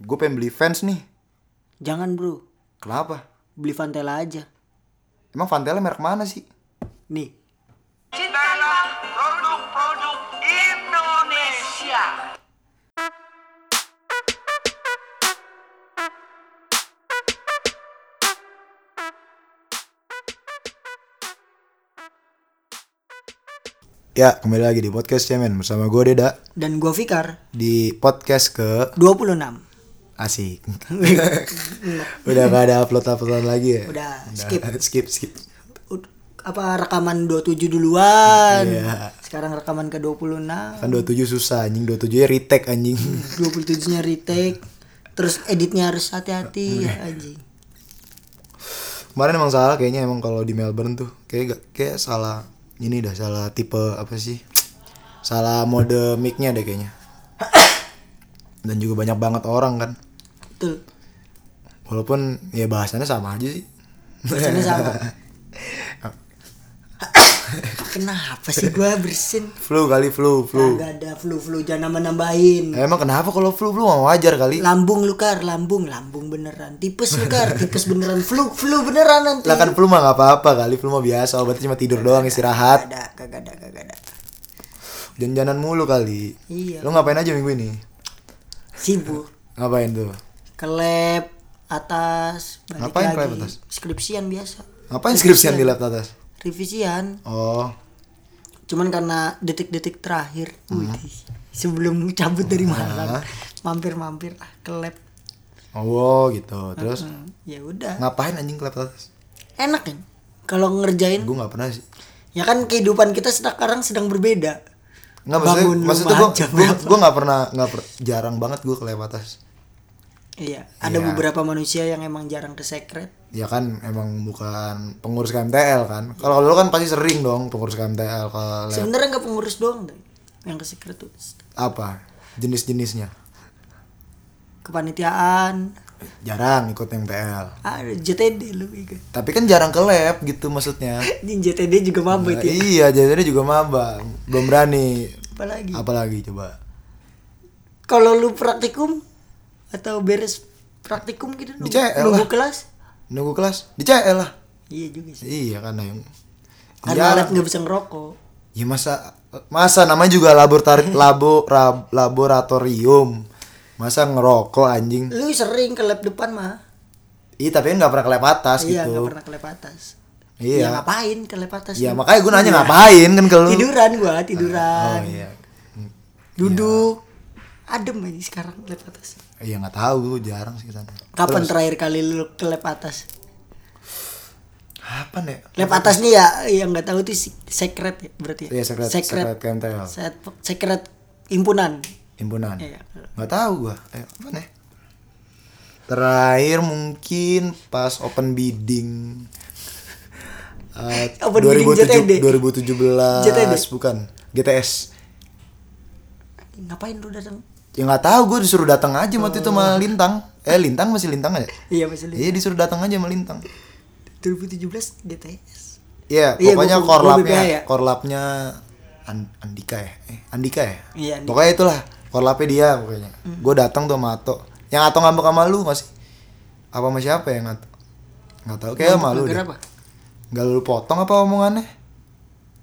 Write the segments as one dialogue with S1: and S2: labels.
S1: Gue pengen beli fans nih.
S2: Jangan bro,
S1: Kenapa?
S2: beli Vantela aja.
S1: Emang Vantela merek mana sih?
S2: Nih,
S3: Ciptalah produk-produk Indonesia.
S1: Ya, kembali lagi di podcast Cemen bersama gue Deda
S2: dan gua Fikar,
S1: di podcast ke
S2: 26.
S1: asik. Udah gak ada upload-uploadan lagi ya?
S2: Udah, skip.
S1: skip, skip.
S2: Ud- apa rekaman 27 duluan.
S1: Iya.
S2: Sekarang rekaman ke 26.
S1: Kan 27 susah anjing, 27 ya retake anjing.
S2: 27-nya retake. Terus editnya harus hati-hati ya anjing.
S1: Kemarin emang salah kayaknya emang kalau di Melbourne tuh kayak gak- kayak salah ini dah salah tipe apa sih? Salah mode mic-nya deh kayaknya. Dan juga banyak banget orang kan.
S2: Betul.
S1: Walaupun ya bahasannya sama aja sih.
S2: Bahasannya sama. Kenapa sih gua bersin?
S1: Flu kali flu, flu.
S2: Gak ada flu-flu jangan nambah-nambahin.
S1: Emang kenapa kalau flu flu mau wajar kali?
S2: Lambung lu Kar, lambung, lambung beneran. Tipes lu Kar, tipes beneran. Flu, flu beneran nanti.
S1: Lah kan flu mah nggak apa-apa kali, flu mah biasa, obatnya cuma tidur doang
S2: Gak
S1: istirahat.
S2: Iya, ada, kagak ada, kagak ada.
S1: Janjanan mulu kali.
S2: Iya.
S1: Lu ngapain aja minggu ini?
S2: Sibuk.
S1: Ngapain tuh?
S2: Ke lab atas balik
S1: Ngapain
S2: lagi.
S1: ke lab atas?
S2: Skripsian biasa.
S1: Ngapain skripsian di lab atas?
S2: Revisian.
S1: Oh,
S2: Cuman karena detik-detik terakhir.
S1: Hmm.
S2: Wih, sebelum cabut dari malam. Mampir-mampir ah ke lab.
S1: oh gitu. Terus
S2: Hmm, ya udah.
S1: ngapain anjing ke lab atas?
S2: Enak kan? Kalau ngerjain
S1: Gue nggak pernah sih.
S2: ya kan kehidupan kita sekarang sedang berbeda.
S1: Nggak maksudnya,
S2: Bangun
S1: maksudnya
S2: rumah jam
S1: gue
S2: berapa?
S1: gue nggak pernah nggak per- jarang banget gue ke lab atas.
S2: Iya, ada
S1: Iya.
S2: beberapa manusia yang emang jarang ke secret.
S1: Ya kan emang bukan pengurus KMTL kan. Kalau lu kan pasti sering dong pengurus KMTL ke lab
S2: Sebenarnya nggak pengurus doang deh yang ke secret tuh
S1: apa jenis-jenisnya.
S2: kepanitiaan,
S1: Jarang ikut MTL.
S2: ah, JTD lu ikut.
S1: Tapi kan jarang ke lab gitu maksudnya.
S2: Anjing, JTD juga mabuk
S1: Nah,
S2: ya.
S1: iya, jadi juga maba, belum berani.
S2: Apalagi
S1: Apalagi coba.
S2: kalau lu praktikum atau beres praktikum gitu nunggu,
S1: Di CL
S2: nunggu
S1: lah.
S2: kelas?
S1: Nunggu kelas di CL lah.
S2: Iya juga sih.
S1: Iya kan yang. Iya.
S2: Karena
S1: Jarang.
S2: lab nggak bisa ngerokok.
S1: Ya masa masa namanya juga laboratori labo rab- laboratorium. Masa ngerokok anjing.
S2: Lu sering ke lab depan mah.
S1: Iya, tapi kan nggak pernah ke lab atas
S2: Iya,
S1: gitu.
S2: nggak pernah ke lab atas.
S1: Iya.
S2: Ya, ngapain ke lab atas?
S1: Iya,
S2: lu?
S1: makanya gue nanya ngapain kan ke lu.
S2: Tiduran gua,
S1: Oh
S2: tiduran.
S1: iya.
S2: Duduk. Adem ini sekarang lab atas.
S1: Iya nggak tahu, jarang sih ke sana.
S2: Kapan terakhir kali lu ke lab atas?
S1: Kapan ya?
S2: Lab atas nih ya yang nggak tahu tuh si- secret ya berarti. ya?
S1: Iya, sekret
S2: secret
S1: sekret KMTL.
S2: set- secret impunan.
S1: himpunan
S2: Iya.
S1: nggak tahu gua eh, mana ya? terakhir mungkin pas open bidding Eh,
S2: Open bidding
S1: 2007
S2: JTD.
S1: 2017
S2: JTD.
S1: bukan GTS
S2: Ngapain lu datang?
S1: ya nggak tahu gue disuruh datang aja waktu itu
S2: Oh.
S1: sama lintang eh lintang masih lintang aja
S2: Iya masih
S1: iya disuruh datang aja sama lintang
S2: 2017 GTS.
S1: iya
S2: Iya,
S1: pokoknya
S2: gua- gua- gua
S1: korlapnya
S2: BPA ya.
S1: korlapnya An- Andika ya eh, Andika ya
S2: Iya. Hmm. Andi.
S1: pokoknya itulah korlapnya dia pokoknya gue datang tuh sama Ato yang Ato ngambek sama lu masih apa sama siapa yang Ato nggak tahu kayak sama lu
S2: Gara-gara
S1: deh.
S2: apa?
S1: nggak lu potong apa omongannya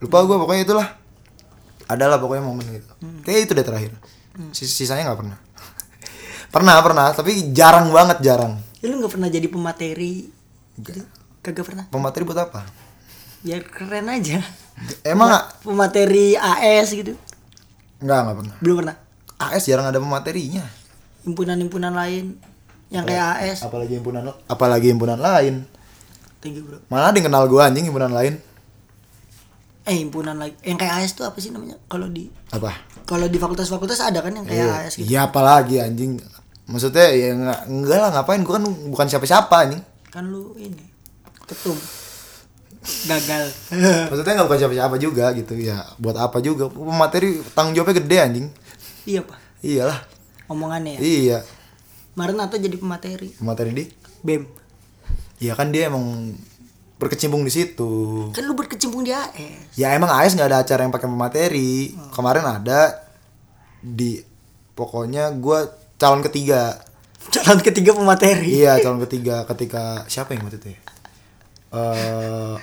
S1: lupa gue pokoknya itulah adalah pokoknya momen gitu
S2: Hmm.
S1: kayak itu deh terakhir Sis- sisanya nggak pernah pernah pernah tapi jarang banget jarang
S2: Ya, lu nggak pernah jadi pemateri. Jadi, kagak pernah.
S1: pemateri buat apa
S2: Ya keren aja.
S1: emang nggak
S2: Pemateri AS gitu.
S1: nggak nggak pernah
S2: Belum pernah.
S1: AS jarang ada pematerinya
S2: Impunan-impunan lain yang kayak AS.
S1: apalagi himpunan apalagi himpunan lain
S2: Thank you, Bro.
S1: mana ada yang kenal gue anjing himpunan lain
S2: Eh, himpunan lagi. Yang kayak AS tuh apa sih namanya? Kalau di
S1: apa
S2: kalau di fakultas-fakultas ada kan yang kayak
S1: Iya,
S2: AS gitu.
S1: Iya apalagi anjing. Maksudnya ya nggak enggak lah ngapain gua kan bukan siapa-siapa anjing.
S2: kan lu ini ketum gagal
S1: Maksudnya nggak bukan siapa-siapa juga gitu ya. Buat apa juga? Pemateri tanggung jawabnya gede anjing.
S2: iya pak
S1: Iyalah.
S2: omongannya ya
S1: Iya.
S2: kemarin atau jadi pemateri
S1: Pemateri di.
S2: bem
S1: Iya kan dia emang berkecimpung di situ.
S2: kan lu berkecimpung di AS
S1: Ya emang AS nggak ada acara yang pakai pemateri.
S2: Hmm.
S1: Kemarin ada di pokoknya gua calon ketiga.
S2: calon ketiga pemateri
S1: Iya calon ketiga ketika siapa yang waktu itu ya? Eh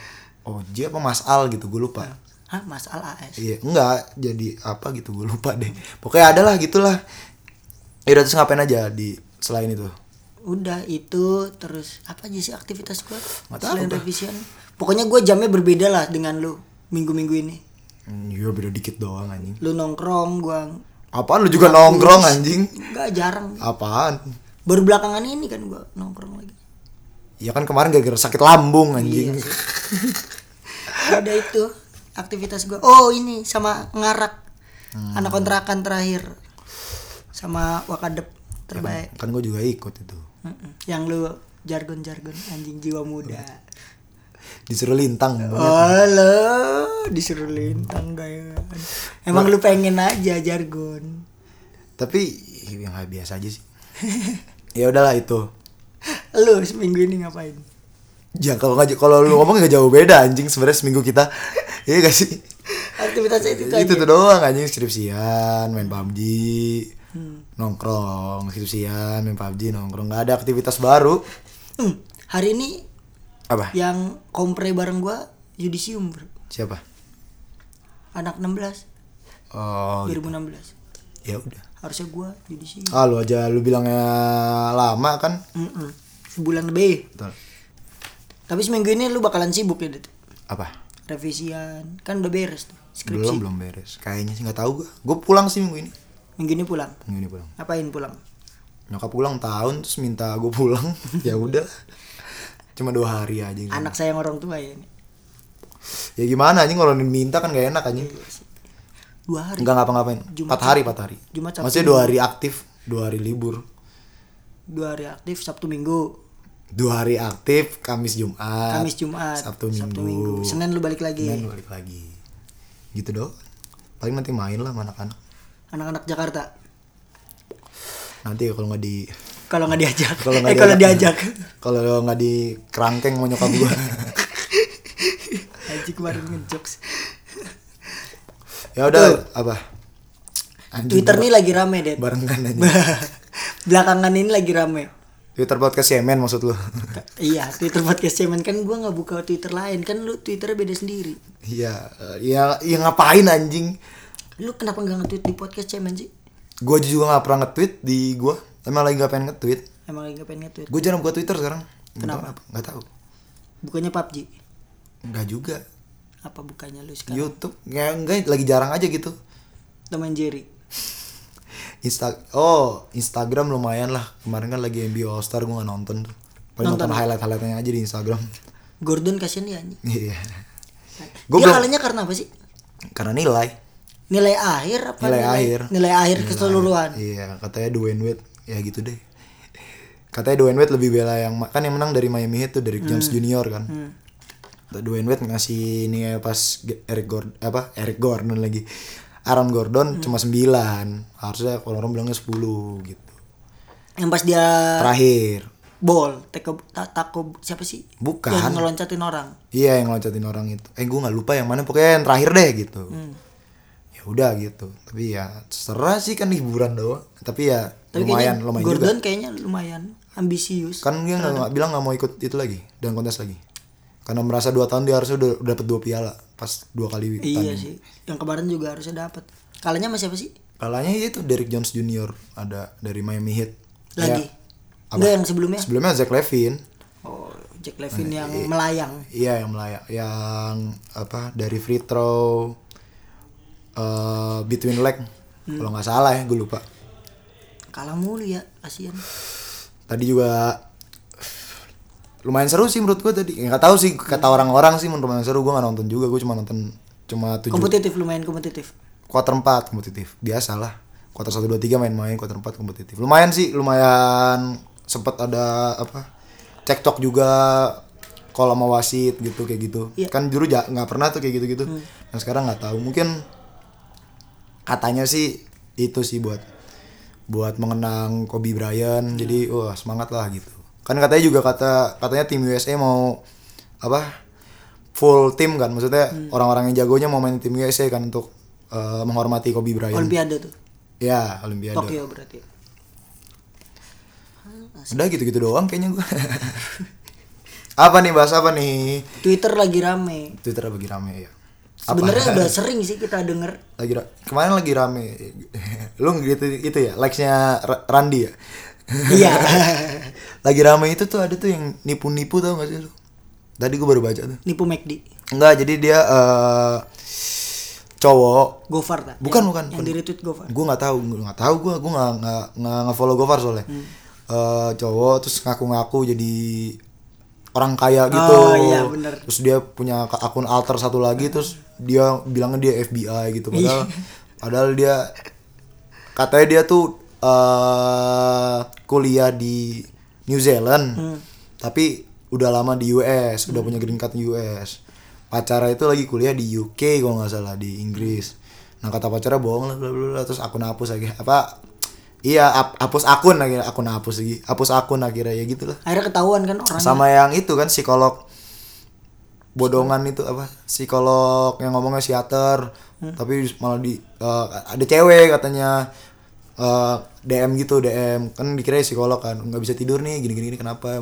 S1: Oji apa Mas Al gitu gue lupa.
S2: Hah, Mas Al AS
S1: Iya enggak jadi apa gitu gue lupa deh. Pokoknya adalah gitulah. Ya udah terus ngapain aja di selain itu?
S2: udah itu terus apa aja sih aktivitas gua
S1: Nggak tahu
S2: selain
S1: gua.
S2: revision pokoknya gua jamnya berbeda lah dengan lu minggu-minggu ini
S1: Hmm, Iya beda dikit doang anjing.
S2: lu nongkrong gua
S1: Apaan lu juga nongkrong anjing?
S2: nggak jarang
S1: Apaan?
S2: baru belakangan ini kan gua nongkrong lagi
S1: Ya kan kemarin gara-gara sakit lambung anjing.
S2: ada itu aktivitas gua oh ini sama ngarak
S1: Hmm.
S2: anak kontrakan terakhir sama wakadep terbaik
S1: kan gue juga ikut itu.
S2: Mm-mm. yang lu jargon-jargon anjing jiwa muda
S1: Iya. Disuruh lintang.
S2: Oh. Halo, disuruh lintang gaya. Emang lu pengen aja jargon.
S1: Tapi yang biasa aja sih. ya udahlah itu.
S2: Lu seminggu ini ngapain?
S1: Ya kalau nggak kalau lu ngomong nggak jauh beda anjing sebenarnya seminggu kita. Iya gak sih?
S2: Aktivitasnya itu,
S1: Itu,
S2: itu aja.
S1: tuh doang anjing skripsian, main PUBG,
S2: Hmm.
S1: nongkrong, skripsian, main PUBG, nongkrong. Gak ada aktivitas baru.
S2: Hmm, hari ini
S1: Apa?
S2: yang kompre bareng gua Yudisium, Bro.
S1: Siapa?
S2: Anak 16,
S1: Oh,
S2: Iya. 2016.
S1: ya udah.
S2: Harusnya gua Yudisium.
S1: Ah, lu aja lu bilangnya lama kan? Gitu.
S2: Mm-mm. Sebulan lebih.
S1: Betul.
S2: Tapi seminggu ini lu bakalan sibuk ya, Dit.
S1: Apa?
S2: Revisian, kan udah beres tuh skripsi.
S1: Belum belum beres. Kayaknya sih nggak tahu gua. Gua pulang sih minggu ini.
S2: Minggu ini pulang.
S1: Minggu ini pulang.
S2: Ngapain pulang?
S1: Nyokap ulang tahun terus minta gua pulang. ya udah. Cuma dua hari aja. gitu.
S2: Anak sayang orang tua ya ini.
S1: Ya gimana anjing kalau diminta kan gak enak anjing.
S2: Dua hari.
S1: Enggak ngapa-ngapain.
S2: Jumat,
S1: Empat hari, empat hari.
S2: Jumat, Sabtu,
S1: Maksudnya dua hari aktif, dua hari libur.
S2: Dua hari aktif Sabtu Minggu.
S1: Dua hari aktif, Kamis Jumat.
S2: Kamis Jumat
S1: Sabtu Minggu.
S2: Senin lu balik lagi
S1: Senin balik lagi. Gitu dong. Paling nanti main lah sama anak-anak.
S2: anak-anak Jakarta
S1: Nanti kalau nggak di
S2: kalau nggak diajak
S1: kalau nggak
S2: eh kalau
S1: diajak-
S2: diajak
S1: Kalau nggak di kerangkeng mau nyokap gua.
S2: Haji kemarin kan ngejokes
S1: ya udah apa? Anjing,
S2: Twitter nih lagi rame deh
S1: barengan aja.
S2: belakangan ini lagi rame
S1: Twitter podcast Yemen maksud lu.
S2: iya Twitter podcast cemen kan gua nggak buka Twitter lain kan lu Twitternya beda sendiri
S1: Iya, eh, ya, ya ngapain anjing?
S2: lu kenapa nggak nge-tweet di podcast cemen sih
S1: Gue juga nggak pernah nge-tweet di gue. Emang lagi nggak pengen nge-tweet.
S2: emang lagi nggak pengen nge-tweet
S1: Gue jarang buka Twitter sekarang.
S2: Kenapa?
S1: Nggak tahu.
S2: bukannya PUBG
S1: Nggak juga.
S2: apa bukannya lu sekarang
S1: YouTube, nggak nggak lagi jarang aja gitu.
S2: teman Jerry
S1: Insta oh Instagram lumayan lah. Kemarin kan lagi MBO All Star gue nggak nonton. tuh. Paling nonton, highlight highlightnya aja di Instagram.
S2: Gordon kasihan ya anjing
S1: Iya. Gua
S2: dia
S1: belum-
S2: kalahnya karena apa sih
S1: Karena nilai.
S2: nilai akhir apa
S1: Nilai akhir.
S2: nilai akhir keseluruhan
S1: Iya, katanya Dwayne Wade ya gitu deh. Katanya Dwayne Wade lebih bela yang kan yang menang dari Miami Heat tuh dari
S2: Hmm.
S1: James Junior kan. Dwayne Wade ngasih ini ya pas Ge- Eric Gordon apa Eric Gordon lagi. Aaron
S2: Hmm.
S1: Gordon cuma 9. Harusnya kalau orang bilangnya 10 gitu.
S2: yang pas dia
S1: Terakhir.
S2: bol teko ta- tako siapa sih
S1: Bukan.
S2: yang ngeloncatin orang
S1: Iya yang loncatin orang itu. Eh gue nggak lupa yang mana pokoknya yang terakhir deh gitu.
S2: Hmm.
S1: Ya udah gitu. Tapi ya serah sih kan hiburan doang. Tapi ya
S2: tapi
S1: lumayan
S2: kayaknya
S1: lumayan juga.
S2: Gordon kayaknya lumayan ambisius
S1: kan dia nggak nggak- bilang nggak mau ikut itu lagi dan kontes lagi karena merasa dua tahun dia harusnya udah udah dapet dua piala pas dua kali
S2: iya
S1: tanding.
S2: sih yang kemarin juga harusnya dapat kalahnya sama siapa sih
S1: kalahnya itu Derek Jones Junior ada dari Miami Heat
S2: lagi
S1: Ya,
S2: enggak yang sebelumnya
S1: sebelumnya Zach Levine
S2: oh Jack Levin
S1: Eh,
S2: yang melayang
S1: iya yang melayak yang apa dari free throw eh between leg
S2: Hmm.
S1: kalau nggak salah ya gue lupa
S2: kalah mulu ya kasihan
S1: tadi juga lumayan seru sih menurut gue tadi Ya, nggak tahu sih kata orang-orang sih menurut lumayan seru gue nggak nonton juga gue cuma nonton cuma tujuh
S2: kompetitif lumayan kompetitif
S1: quarter 4 kompetitif biasalah quarter 1 2 3 main-main quarter 4 kompetitif lumayan sih lumayan sempet ada apa cekcok juga kalau sama wasit gitu kayak gitu
S2: Iya.
S1: kan dulu ja- nggak pernah tuh kayak gitu-gitu nah sekarang nggak tahu mungkin katanya sih itu sih buat buat mengenang Kobe Bryant jadi wah semangat lah gitu kan katanya juga kata katanya tim USA mau apa full tim kan maksudnya orang-orang yang jagonya mau main tim USA kan untuk eh, menghormati Kobe Bryant Iya,
S2: Olimpiade tuh
S1: ya Olimpiade
S2: Tokyo berarti
S1: Udah gitu-gitu doang kayaknya gua. apa nih bahas apa nih?
S2: Twitter lagi rame.
S1: Twitter lagi rame ya. Apa?
S2: Sebenarnya udah sering sih kita denger
S1: lagi ra- kemarin lagi rame. Lu gitu itu ya, likes-nya Ra- Randi ya.
S2: Iya.
S1: lagi rame itu tuh ada tuh yang nipu-nipu tau gak sih lu? Tadi gua baru baca tuh.
S2: nipu McD.
S1: Enggak, jadi dia eh cowok
S2: Gofar tak?
S1: Bukan,
S2: Yang-
S1: bukan,
S2: Yang
S1: bukan.
S2: di retweet Gofar.
S1: gue nggak tahu gue nggak tahu gue gue nggak nggak nggak nggak follow Gofar soalnya Eh, cowok terus ngaku-ngaku jadi orang kaya gitu
S2: Oh, iya, bener.
S1: terus dia punya ka- akun alter satu lagi terus dia bilangnya dia FBI gitu
S2: Iya.
S1: padahal padahal dia katanya dia tuh eh kuliah di New Zealand
S2: Hmm.
S1: tapi udah lama di US udah punya green card US pacara itu lagi kuliah di UK kalau nggak salah di Inggris nah kata pacara bohong lah bla bla bla terus akun hapus lagi apa iya hap- hapus akun akhirnya akun hapus lagi hapus akun akhirnya ya gitulah
S2: Akhirnya ketahuan kan orang.
S1: sama yang itu kan psikolog bodongan itu apa psikolog yang ngomongnya siater
S2: Hmm.
S1: tapi malah di eh, ada cewek katanya eh, DM gitu DM kan dikira psikolog kan nggak bisa tidur nih gini gini, gini, kenapa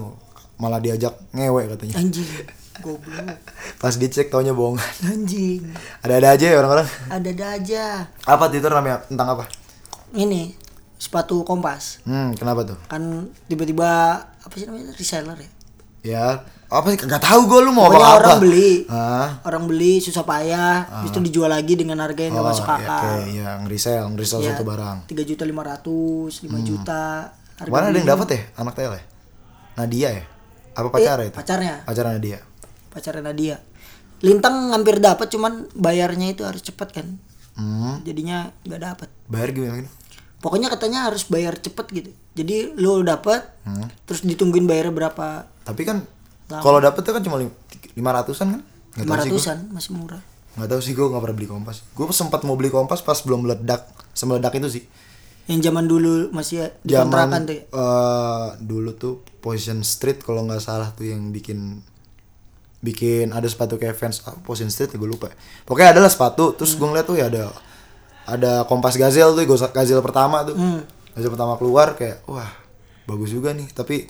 S1: malah diajak ngewe katanya
S2: Anjing. Goblok.
S1: pas dicek taunya bohongan
S2: Anjing.
S1: ada-ada aja ya orang-orang
S2: Ada ada aja.
S1: apa Twitter namanya tentang apa
S2: Ini sepatu kompas
S1: hmm kenapa tuh
S2: kan tiba-tiba apa sih namanya reseller ya
S1: ya apa sih nggak tahu gue lu mau
S2: pokoknya
S1: apa
S2: orang beli
S1: ah
S2: orang beli susah payah habis itu dijual lagi dengan harga yang nggak
S1: oh,
S2: masuk
S1: ya,
S2: akal
S1: kayak yang resell resell
S2: Ya,
S1: suatu barang
S2: tiga juta lima ratus lima
S1: Hmm.
S2: juta harga
S1: Mana ada yang
S2: beli.
S1: dapat ya anak TL ya? Nadia ya? Apa
S2: Iya.
S1: pacarnya itu?
S2: pacarnya
S1: Pacar Nadia.
S2: pacarnya Nadia Lintang hampir dapat cuman bayarnya itu harus cepat kan
S1: Hmm.
S2: jadinya nggak dapat
S1: Bayar gimana?
S2: pokoknya katanya harus bayar cepet gitu jadi lo dapat
S1: Hmm.
S2: terus ditungguin bayarnya berapa
S1: Tapi kan kalau dapetnya kan cuma lim- lima ratusan kan? Nggak
S2: lima
S1: tahu sih gua.
S2: ratusan masih murah
S1: Nggak tahu sih gue nggak pernah beli kompas. Gue sempat mau beli kompas pas belum meledak, semeledak itu sih.
S2: yang zaman dulu masih dikontrakan
S1: Zaman
S2: tuh ya.
S1: eh, dulu tuh Position Street kalau nggak salah tuh yang bikin bikin ada sepatu kayak fans ah, Position Street gue lupa. Pokoknya adalah sepatu. Terus gue ngeliat tuh ya ada ada kompas Gazel tuh Goza- Gazel pertama tuh.
S2: Hmm.
S1: Gazel pertama keluar kayak wah bagus juga nih. Tapi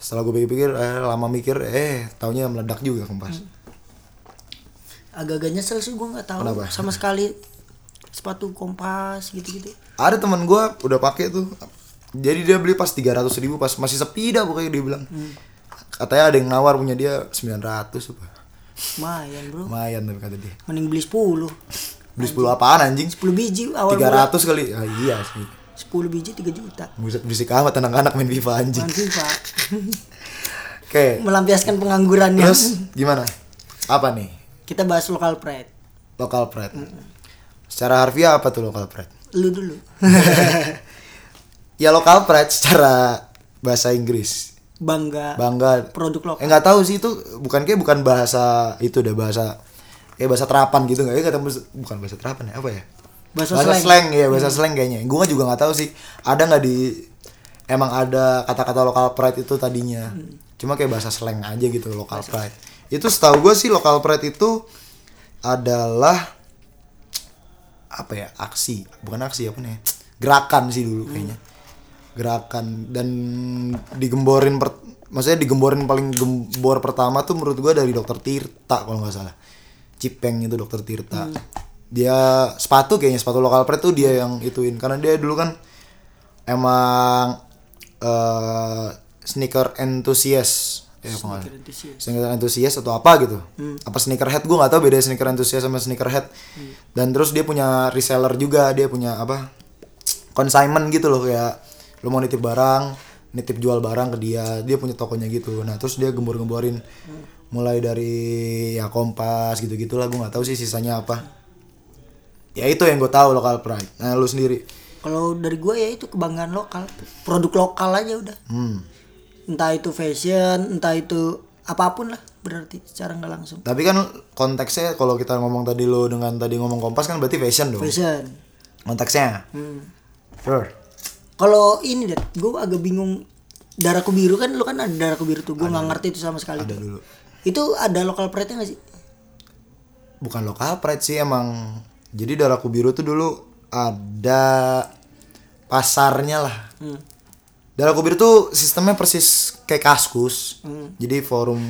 S1: setelah gue pikir-pikir eh, lama mikir eh taunya meledak juga kompas.
S2: Hmm. agak-agak nyesel sih gue nggak tahu
S1: Kenapa?
S2: sama sekali sepatu kompas gitu-gitu
S1: ada teman gue udah pakai tuh jadi dia beli pas 300 ribu pas masih sepi dah pokoknya dia bilang katanya ada yang nawar punya dia 900 apa
S2: lumayan bro
S1: lumayan tapi kata dia
S2: mending beli 10 10
S1: beli 10 apaan anjing 10
S2: biji awal
S1: 300 kali ah, iya sih
S2: 10 biji 3 juta
S1: buset berisik amat anak-anak main FIFA anjing
S2: nanti pak
S1: oke
S2: melampiaskan penganggurannya
S1: terus gimana apa nih
S2: kita bahas lokal pride
S1: local pride secara harfiah apa tuh local pride
S2: lu dulu
S1: ya local pride secara bahasa Inggris
S2: bangga
S1: bangga
S2: produk lokal
S1: Eh nggak tahu sih itu bukan kayak bukan bahasa itu udah bahasa kayak bahasa terapan gitu nggak ya kata bukan bahasa terapan ya apa ya
S2: Bahasa slang.
S1: ya bahasa slang kayaknya gue juga nggak tahu sih ada nggak di emang ada kata-kata lokal pride itu tadinya
S2: Hmm.
S1: cuma kayak bahasa slang aja gitu lokal pride itu setahu gue sih lokal pride itu adalah apa ya aksi bukan aksi apa nih gerakan sih dulu kayaknya gerakan dan digemborin per, maksudnya digemborin paling gembor pertama tuh menurut gua dari dokter Tirta kalau nggak salah Cipeng itu dokter Tirta dia sepatu kayaknya sepatu lokal pride tuh dia yang ituin karena dia dulu kan emang eh sneaker enthusiast ya apa nggak-
S2: Keren tuh sih.
S1: sneaker antusias atau apa gitu apa sneakerhead gue nggak tahu beda sneaker antusias sama sneakerhead dan terus dia punya reseller juga dia punya apa consignment gitu loh kayak lu mau nitip barang nitip jual barang ke dia dia punya tokonya gitu nah terus dia gembor-gemborin mulai dari ya kompas gitu gitulah gue nggak tahu sih sisanya apa ya itu yang gue tahu lokal pride nah lu sendiri
S2: kalau dari gue ya itu kebanggaan lokal produk lokal aja udah
S1: Hmm.
S2: entah itu fashion entah itu apapun lah berarti secara nggak langsung
S1: tapi kan konteksnya kalau kita ngomong tadi lo dengan tadi ngomong kompas kan berarti fashion dong
S2: fashion
S1: konteksnya sure
S2: Kalau ini deh, gue agak bingung darahku biru kan lu kan ada darahku biru tuh gue nggak ngerti itu sama sekali
S1: ada
S2: tuh.
S1: dulu
S2: itu ada lokal pride nya nggak sih
S1: bukan lokal pride sih emang jadi daraku biru tuh dulu ada pasarnya lah Dalam Kubir tuh sistemnya persis kayak kaskus. Jadi forum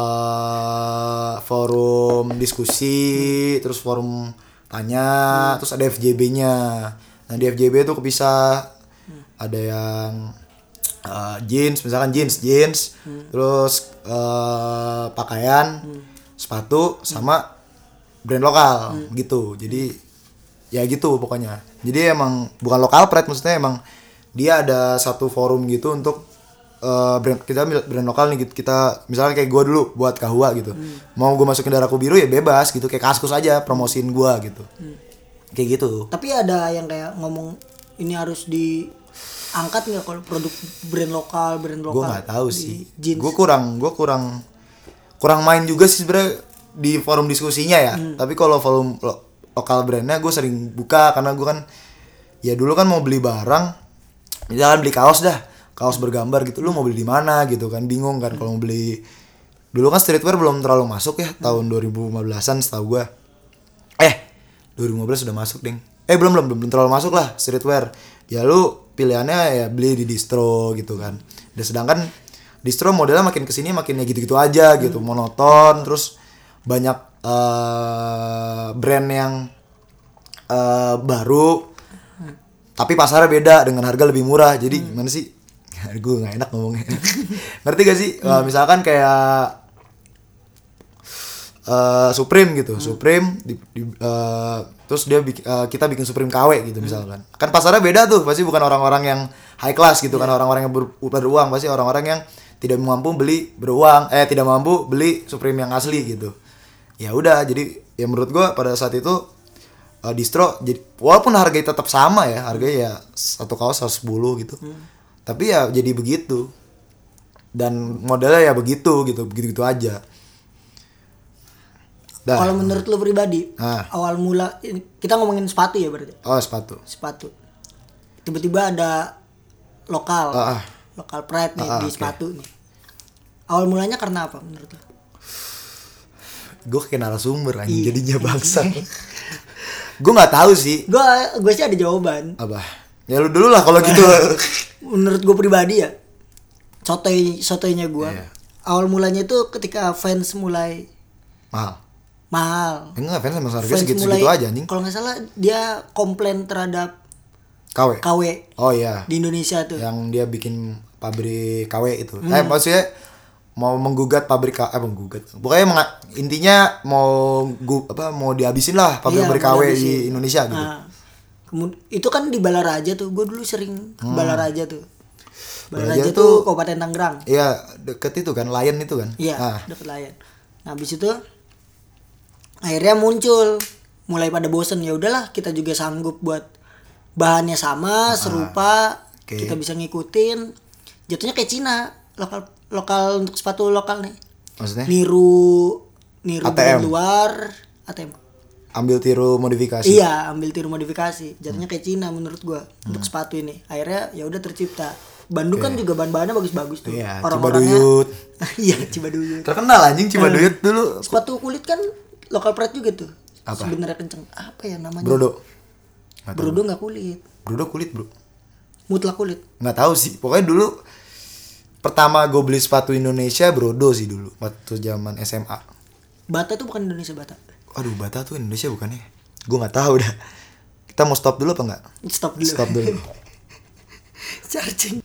S1: eh forum diskusi, terus forum tanya, terus ada FJB-nya. Nah, di FJB itu kepisah ada yang eh, jeans, misalkan jeans, jeans, terus eh, pakaian, sepatu sama brand lokal gitu. Jadi ya gitu pokoknya jadi emang bukan lokal pride maksudnya emang dia ada satu forum gitu untuk eh, brand kita mil- brand lokal nih gitu. kita misalnya kayak gua dulu buat kahua gitu mau gua masukin darahku biru ya bebas gitu kayak kaskus aja promosiin gua gitu kayak gitu
S2: Tapi ada yang kayak ngomong ini harus diangkat nggak kalau produk brand lokal, brand lokal.
S1: gua nggak tahu
S2: di
S1: sih
S2: Jeans.
S1: gua kurang gua kurang kurang main juga sih sebenarnya di forum diskusinya ya
S2: Hmm.
S1: tapi kalau forum lo- lokal brandnya gue sering buka karena gua kan ya dulu kan mau beli barang misalkan beli kaos dah kaos bergambar gitu lu mau beli di mana gitu kan bingung kan kalau mau beli dulu kan streetwear belum terlalu masuk ya
S2: Hmm.
S1: tahun 2015an setahu gua eh 2015 sudah masuk ding eh belum belum belum, belum terlalu masuk lah streetwear ya lu pilihannya ya beli di distro gitu kan dan sedangkan distro modelnya makin kesini makin ya gitu-gitu aja gitu monoton terus banyak eh, brand yang eh, baru tapi pasarnya beda dengan harga lebih murah jadi gimana sih gue nggak enak ngomongnya ngerti gak sih Eh, misalkan kayak eh, Supreme gitu, Supreme di, di- eh, terus dia bik- eh, kita bikin Supreme KW gitu misalkan. Kan pasarnya beda tuh, pasti bukan orang-orang yang high class gitu kan, orang-orang yang ber, beruang, pasti orang-orang yang tidak mampu beli beruang, eh tidak mampu beli Supreme yang asli gitu. Ya udah, jadi ya menurut gua pada saat itu eh, distro jadi walaupun harganya tetap sama ya, harganya ya satu kaos 110 gitu. Tapi ya jadi begitu. Dan modelnya ya begitu gitu, begitu-gitu aja. Dah.
S2: Kalau menurut lu pribadi,
S1: Ah.
S2: awal mula ini- kita ngomongin sepatu ya berarti.
S1: Oh sepatu.
S2: Sepatu. Tiba-tiba ada lokal.
S1: Ah, ah.
S2: Lokal pride nih
S1: Ah, ah,
S2: di
S1: oke.
S2: sepatu nih. Awal mulanya karena apa menurut lu?
S1: Gue kayak narasumber
S2: Iya.
S1: anjing jadinya bangsa. gue nggak tahu sih.
S2: Gua gue sih ada jawaban.
S1: Apa? Ya lu dulu lah kalau gitu.
S2: menurut gue pribadi ya sotoy sotoynya gue
S1: Iya.
S2: awal mulanya itu ketika fans mulai
S1: Mahal.
S2: mahal
S1: Enggak fans sama harga
S2: fans
S1: segitu
S2: mulai
S1: segitu aja anjing.
S2: kalau nggak salah dia komplain terhadap
S1: KW.
S2: KW
S1: Oh iya.
S2: di Indonesia tuh
S1: Yang dia bikin pabrik KW itu.
S2: Hmm.
S1: Eh maksudnya mau menggugat pabrik KW, eh, menggugat. Pokoknya menga- intinya mau gu- apa mau dihabisin lah
S2: Iya,
S1: pabrik-pabrik KW
S2: mau
S1: di
S2: dihabisin.
S1: Indonesia gitu.
S2: Nah, kemud- itu kan di Balaraja tuh gue dulu sering ke Balaraja tuh
S1: Hmm.
S2: Balaraja,
S1: Balaraja
S2: tuh
S1: tuh-
S2: Kabupaten Tangerang
S1: Iya, deket itu kan, Lion itu kan.
S2: Iya,
S1: Ah,
S2: dapat layan. Nah, habis itu akhirnya muncul mulai pada bosen ya udahlah kita juga sanggup buat bahannya sama
S1: Ah,
S2: serupa
S1: oke.
S2: kita bisa ngikutin jatuhnya kayak Cina lokal lokal untuk sepatu lokal
S1: Eh.
S2: nih
S1: maksudnya
S2: niru niru
S1: ATM.
S2: brand luar ATM
S1: ambil tiru modifikasi.
S2: iya ambil tiru modifikasi jatuhnya kayak Cina menurut gua
S1: Hmm.
S2: untuk sepatu ini akhirnya ya udah tercipta Bandung kan juga bahan-bahannya bagus-bagus tuh
S1: Iya,
S2: orang-orangnya
S1: Cibaduyut.
S2: iya Cibaduyut
S1: Terkenal anjing Cibaduyut dulu
S2: sepatu kulit kan lokal pride juga tuh
S1: Apa?
S2: sebenarnya kenceng apa ya namanya
S1: Brodo. Nggak tahu.
S2: brodo nggak kulit
S1: Brodo kulit, Bro.
S2: mutlak kulit
S1: Nggak tahu sih. Pokoknya dulu pertama gue beli sepatu Indonesia Brodo sih dulu waktu zaman SMA.
S2: bata tuh bukan Indonesia bata
S1: Aduh, Bata tuh Indonesia bukannya. Gue nggak tahu dah. Kita mau stop dulu apa enggak?
S2: stop dulu
S1: Stop dulu.
S2: charging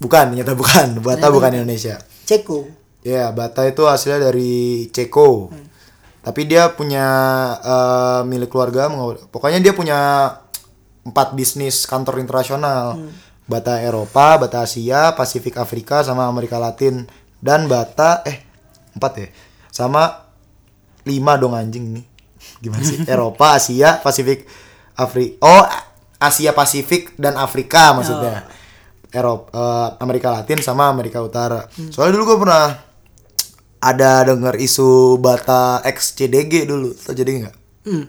S1: Bukan, ternyata bukan. Bata bukan Indonesia.
S2: ceko
S1: Ya, Bata itu hasilnya dari Ceko. Tapi dia punya eh, milik keluarga, mengo- pokoknya dia punya empat bisnis kantor internasional. Bata Eropa, Bata Asia, Pasifik Afrika sama Amerika Latin dan Bata eh empat ya. Sama lima dong anjing nih. Gimana sih? Eropa, Asia, Pasifik, Afrika. Oh, Asia Pasifik dan Afrika maksudnya.
S2: Oh.
S1: Eropa, eh, Amerika Latin sama Amerika Utara. Soalnya dulu gue pernah ada denger isu Bata XCDG dulu. Tau jadi nggak?
S2: hmm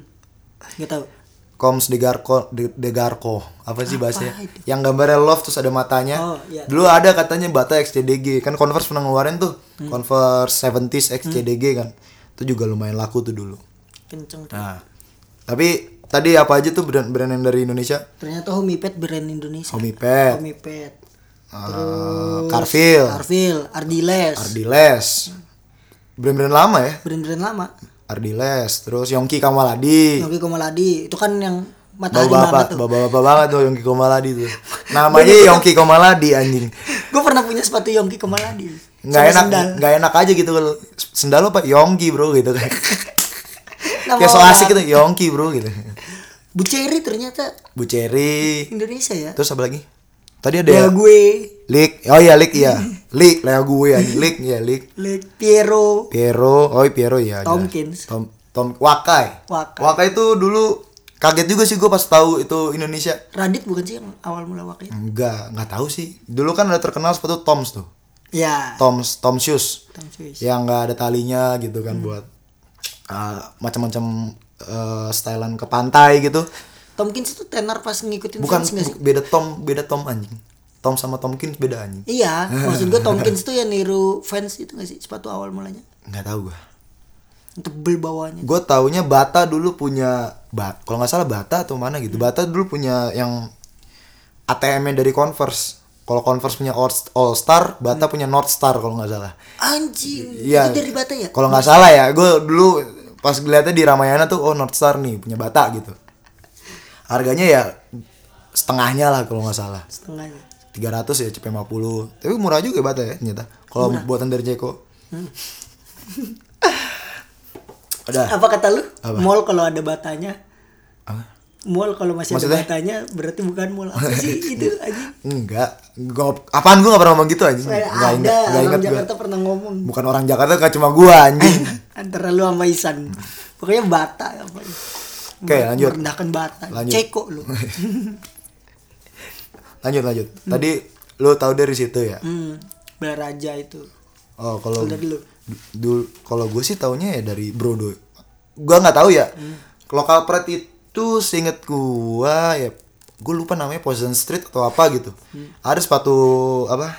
S2: nggak tahu
S1: Koms de Garco, de, de Garco. apa sih bahasanya?
S2: itu?
S1: Yang gambarnya love terus ada matanya.
S2: Oh, iya.
S1: Dulu ada katanya Bata XCDG kan Converse pernah ngeluarin tuh
S2: Hmm.
S1: Converse 70s XCDG kan. Itu juga lumayan laku tuh dulu.
S2: kenceng tuh
S1: Nah, tapi Tadi apa aja tuh brand brand yang dari Indonesia?
S2: Ternyata Homipet brand Indonesia.
S1: Homipet,
S2: Homipet.
S1: eh, Carfil,
S2: Carvil, Ardiles.
S1: Ardiles. Brand-brand lama ya.
S2: brand-brand lama.
S1: Ardiles, terus Yongki Kamaladi.
S2: Yogi Komaladi itu kan yang
S1: Bapak
S2: matahari
S1: bapak,
S2: banget tuh.
S1: bapak bapak banget tuh Yongki Komaladi tuh. Namanya Yongki Komaladi anjing.
S2: Gue pernah punya sepatu Yogi Komaladi.
S1: Nggak
S2: Sama
S1: enak,
S2: sendal.
S1: nggak enak aja gitu kalau sendal lo pak Yongki bro gitu kan.
S2: Nama
S1: Kayak so
S2: orang.
S1: asik gitu Yongki bro gitu.
S2: Bu Cherry ternyata
S1: Bu Cherry,
S2: Indonesia ya.
S1: terus apa lagi? Tadi ada
S2: Ya
S1: ya?
S2: gue,
S1: Lik, oh iya Lik iya, Lik, lah gue anjing, Lik ya Lik.
S2: Le Piero,
S1: Piero, oh Piero ya.
S2: Tomkins.
S1: Tom, Tom Wakai.
S2: Wakai.
S1: itu dulu kaget juga sih gue pas tahu itu Indonesia.
S2: Radit bukan sih yang awal mula ya? wakil.
S1: Enggak, enggak tahu sih. Dulu kan ada terkenal sepatu Toms tuh. Iya.
S2: Ya.
S1: Toms, Tom shoes.
S2: Tom Swiss.
S1: Yang enggak ada talinya gitu kan buat uh, macam-macam uh, stylean ke pantai gitu.
S2: Tomkins itu tenor pas ngikutin
S1: Bukan
S2: Friends nggak sih?
S1: beda Tom, beda Tom anjing. Tom sama Tomkins beda anjing.
S2: Iya, maksud gue Tomkins tuh yang niru fans itu gak sih sepatu awal mulanya?
S1: Enggak tahu gua.
S2: Yang Tebel bawahnya.
S1: gue taunya Bata dulu punya bat kalau nggak salah Bata atau mana
S2: Hmm.
S1: gitu Bata dulu punya yang ATM-nya dari Converse kalau Converse punya All All Star Bata punya North Star kalau nggak salah
S2: Anjing,
S1: Iya.
S2: Hmm. itu dari bata ya?
S1: kalau nggak salah ya gue dulu pas ngeliatnya di Ramayana tuh oh North Star nih punya Bata gitu harganya ya setengahnya lah kalau nggak salah
S2: Setengahnya.
S1: 300 ya CP50 tapi murah juga Bata ya ternyata kalau buatan dari Jeko
S2: Hmm.
S1: udah
S2: Apa kata lu? Mall kalau ada batanya.
S1: Apa?
S2: Mall kalau masih
S1: Maksudnya?
S2: ada batanya berarti bukan mall. Apa sih itu anjing?
S1: Enggak, gua apaan gua gak pernah ngomong gitu anjing.
S2: Eh,
S1: Enggak
S2: ada,
S1: ingat, enggak
S2: orang
S1: ingat gua.
S2: Jakarta pernah ngomong.
S1: Bukan orang Jakarta, gak cuma gua anjing.
S2: Antara lu sama Isan. Pokoknya bata apa ya.
S1: Oke, lanjut.
S2: Merendahkan bata.
S1: Lanjut.
S2: Ceko lu.
S1: Lanjut, lanjut. Tadi lu tahu dari situ ya.
S2: hmm, Belaraja itu.
S1: Oh, kalau
S2: Dari lu.
S1: du- dulu kalau gua sih taunya ya dari Brodo. Gua nggak tahu ya.
S2: Hmm.
S1: Lokal Pride itu seinget gua ya gua lupa namanya Poison Street atau apa gitu.
S2: Hmm.
S1: Ada sepatu apa?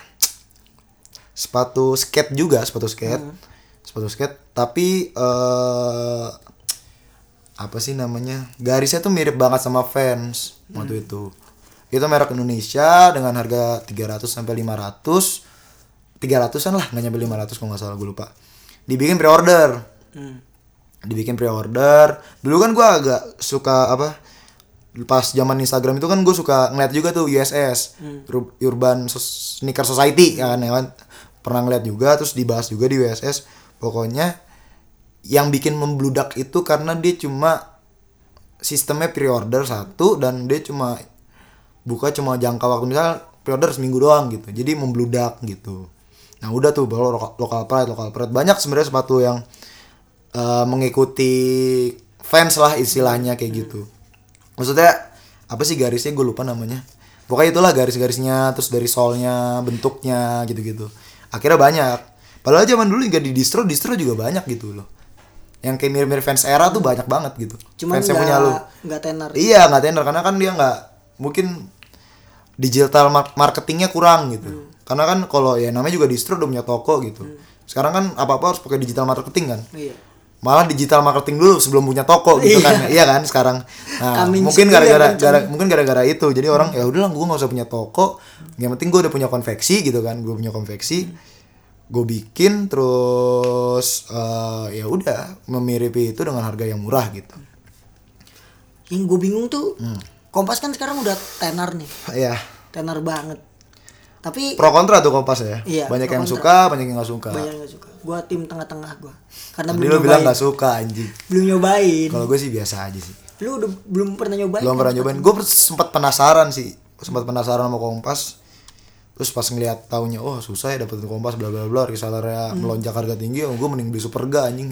S1: Sepatu skate juga, sepatu skate.
S2: Hmm.
S1: Sepatu skate, tapi eh apa sih namanya? Garisnya tuh mirip banget sama Vans waktu itu. Itu merek Indonesia dengan harga 300 sampai 500. 300-an lah, nggak nyampe 500 kalau nggak salah gue lupa. Dibikin pre-order. Dibikin pre-order. Dulu kan gua agak suka apa? Pas zaman Instagram itu kan gue suka ngeliat juga tuh USS, Ur- Urban Sos- Sneaker Society ya kan, ya kan? Pernah ngeliat juga terus dibahas juga di USS. Pokoknya yang bikin membludak itu karena dia cuma sistemnya pre-order satu dan dia cuma buka cuma jangka waktu misal pre-order seminggu doang gitu jadi membludak gitu nah udah tuh baru loka- lokal pride lokal pride banyak sebenarnya sepatu yang eh, mengikuti fans lah istilahnya kayak gitu maksudnya apa sih garisnya gue lupa namanya pokoknya itulah garis-garisnya terus dari solnya bentuknya gitu-gitu akhirnya banyak padahal zaman dulu juga di distro distro juga banyak gitu loh yang kayak mirip-mirip fans era tuh banyak banget gitu
S2: Cuman
S1: fans yang punya lu
S2: nggak- nggak tenor.
S1: Iya nggak tender karena kan dia nggak mungkin digital mar- marketingnya kurang gitu. Karena kan kalau ya namanya juga distro udah punya toko gitu. Sekarang kan apa apa harus pakai digital marketing kan.
S2: Iya.
S1: Malah digital marketing dulu sebelum punya toko gitu kan. Iya kan sekarang. Nah,
S2: Coming
S1: mungkin
S2: soon ya,
S1: gara-gara
S2: kenceng.
S1: gara- mungkin gara-gara itu. Jadi orang ya udahlah gue nggak usah punya toko. Yang penting gue udah punya konveksi gitu kan. Gue punya konveksi. Gue bikin terus eh, ya udah memiripi itu dengan harga yang murah gitu.
S2: Yang gue bingung tuh
S1: Hmm.
S2: Kompas kan sekarang udah tenor nih.
S1: Ya.
S2: Tenor banget. Tapi
S1: pro kontra tuh kompas ya
S2: Iya,
S1: banyak
S2: pro
S1: yang
S2: kontra.
S1: suka banyak yang nggak suka
S2: banyak yang gak suka. Gue tim tengah-tengah gue. Karena
S1: tadi
S2: belum
S1: lo bilang
S2: nyobain.
S1: nggak suka anjing
S2: Belum nyobain.
S1: kalau gue sih biasa aja sih
S2: Lu udah belum pernah nyobain.
S1: belum
S2: kan?
S1: pernah nyobain gue sempat penasaran sih sempat penasaran sama kompas terus pas ngeliat taunya oh susah ya dapetin kompas bla bla bla
S2: Hmm.
S1: resellernya melonjak harga tinggi oh, gue mending beli superga anjing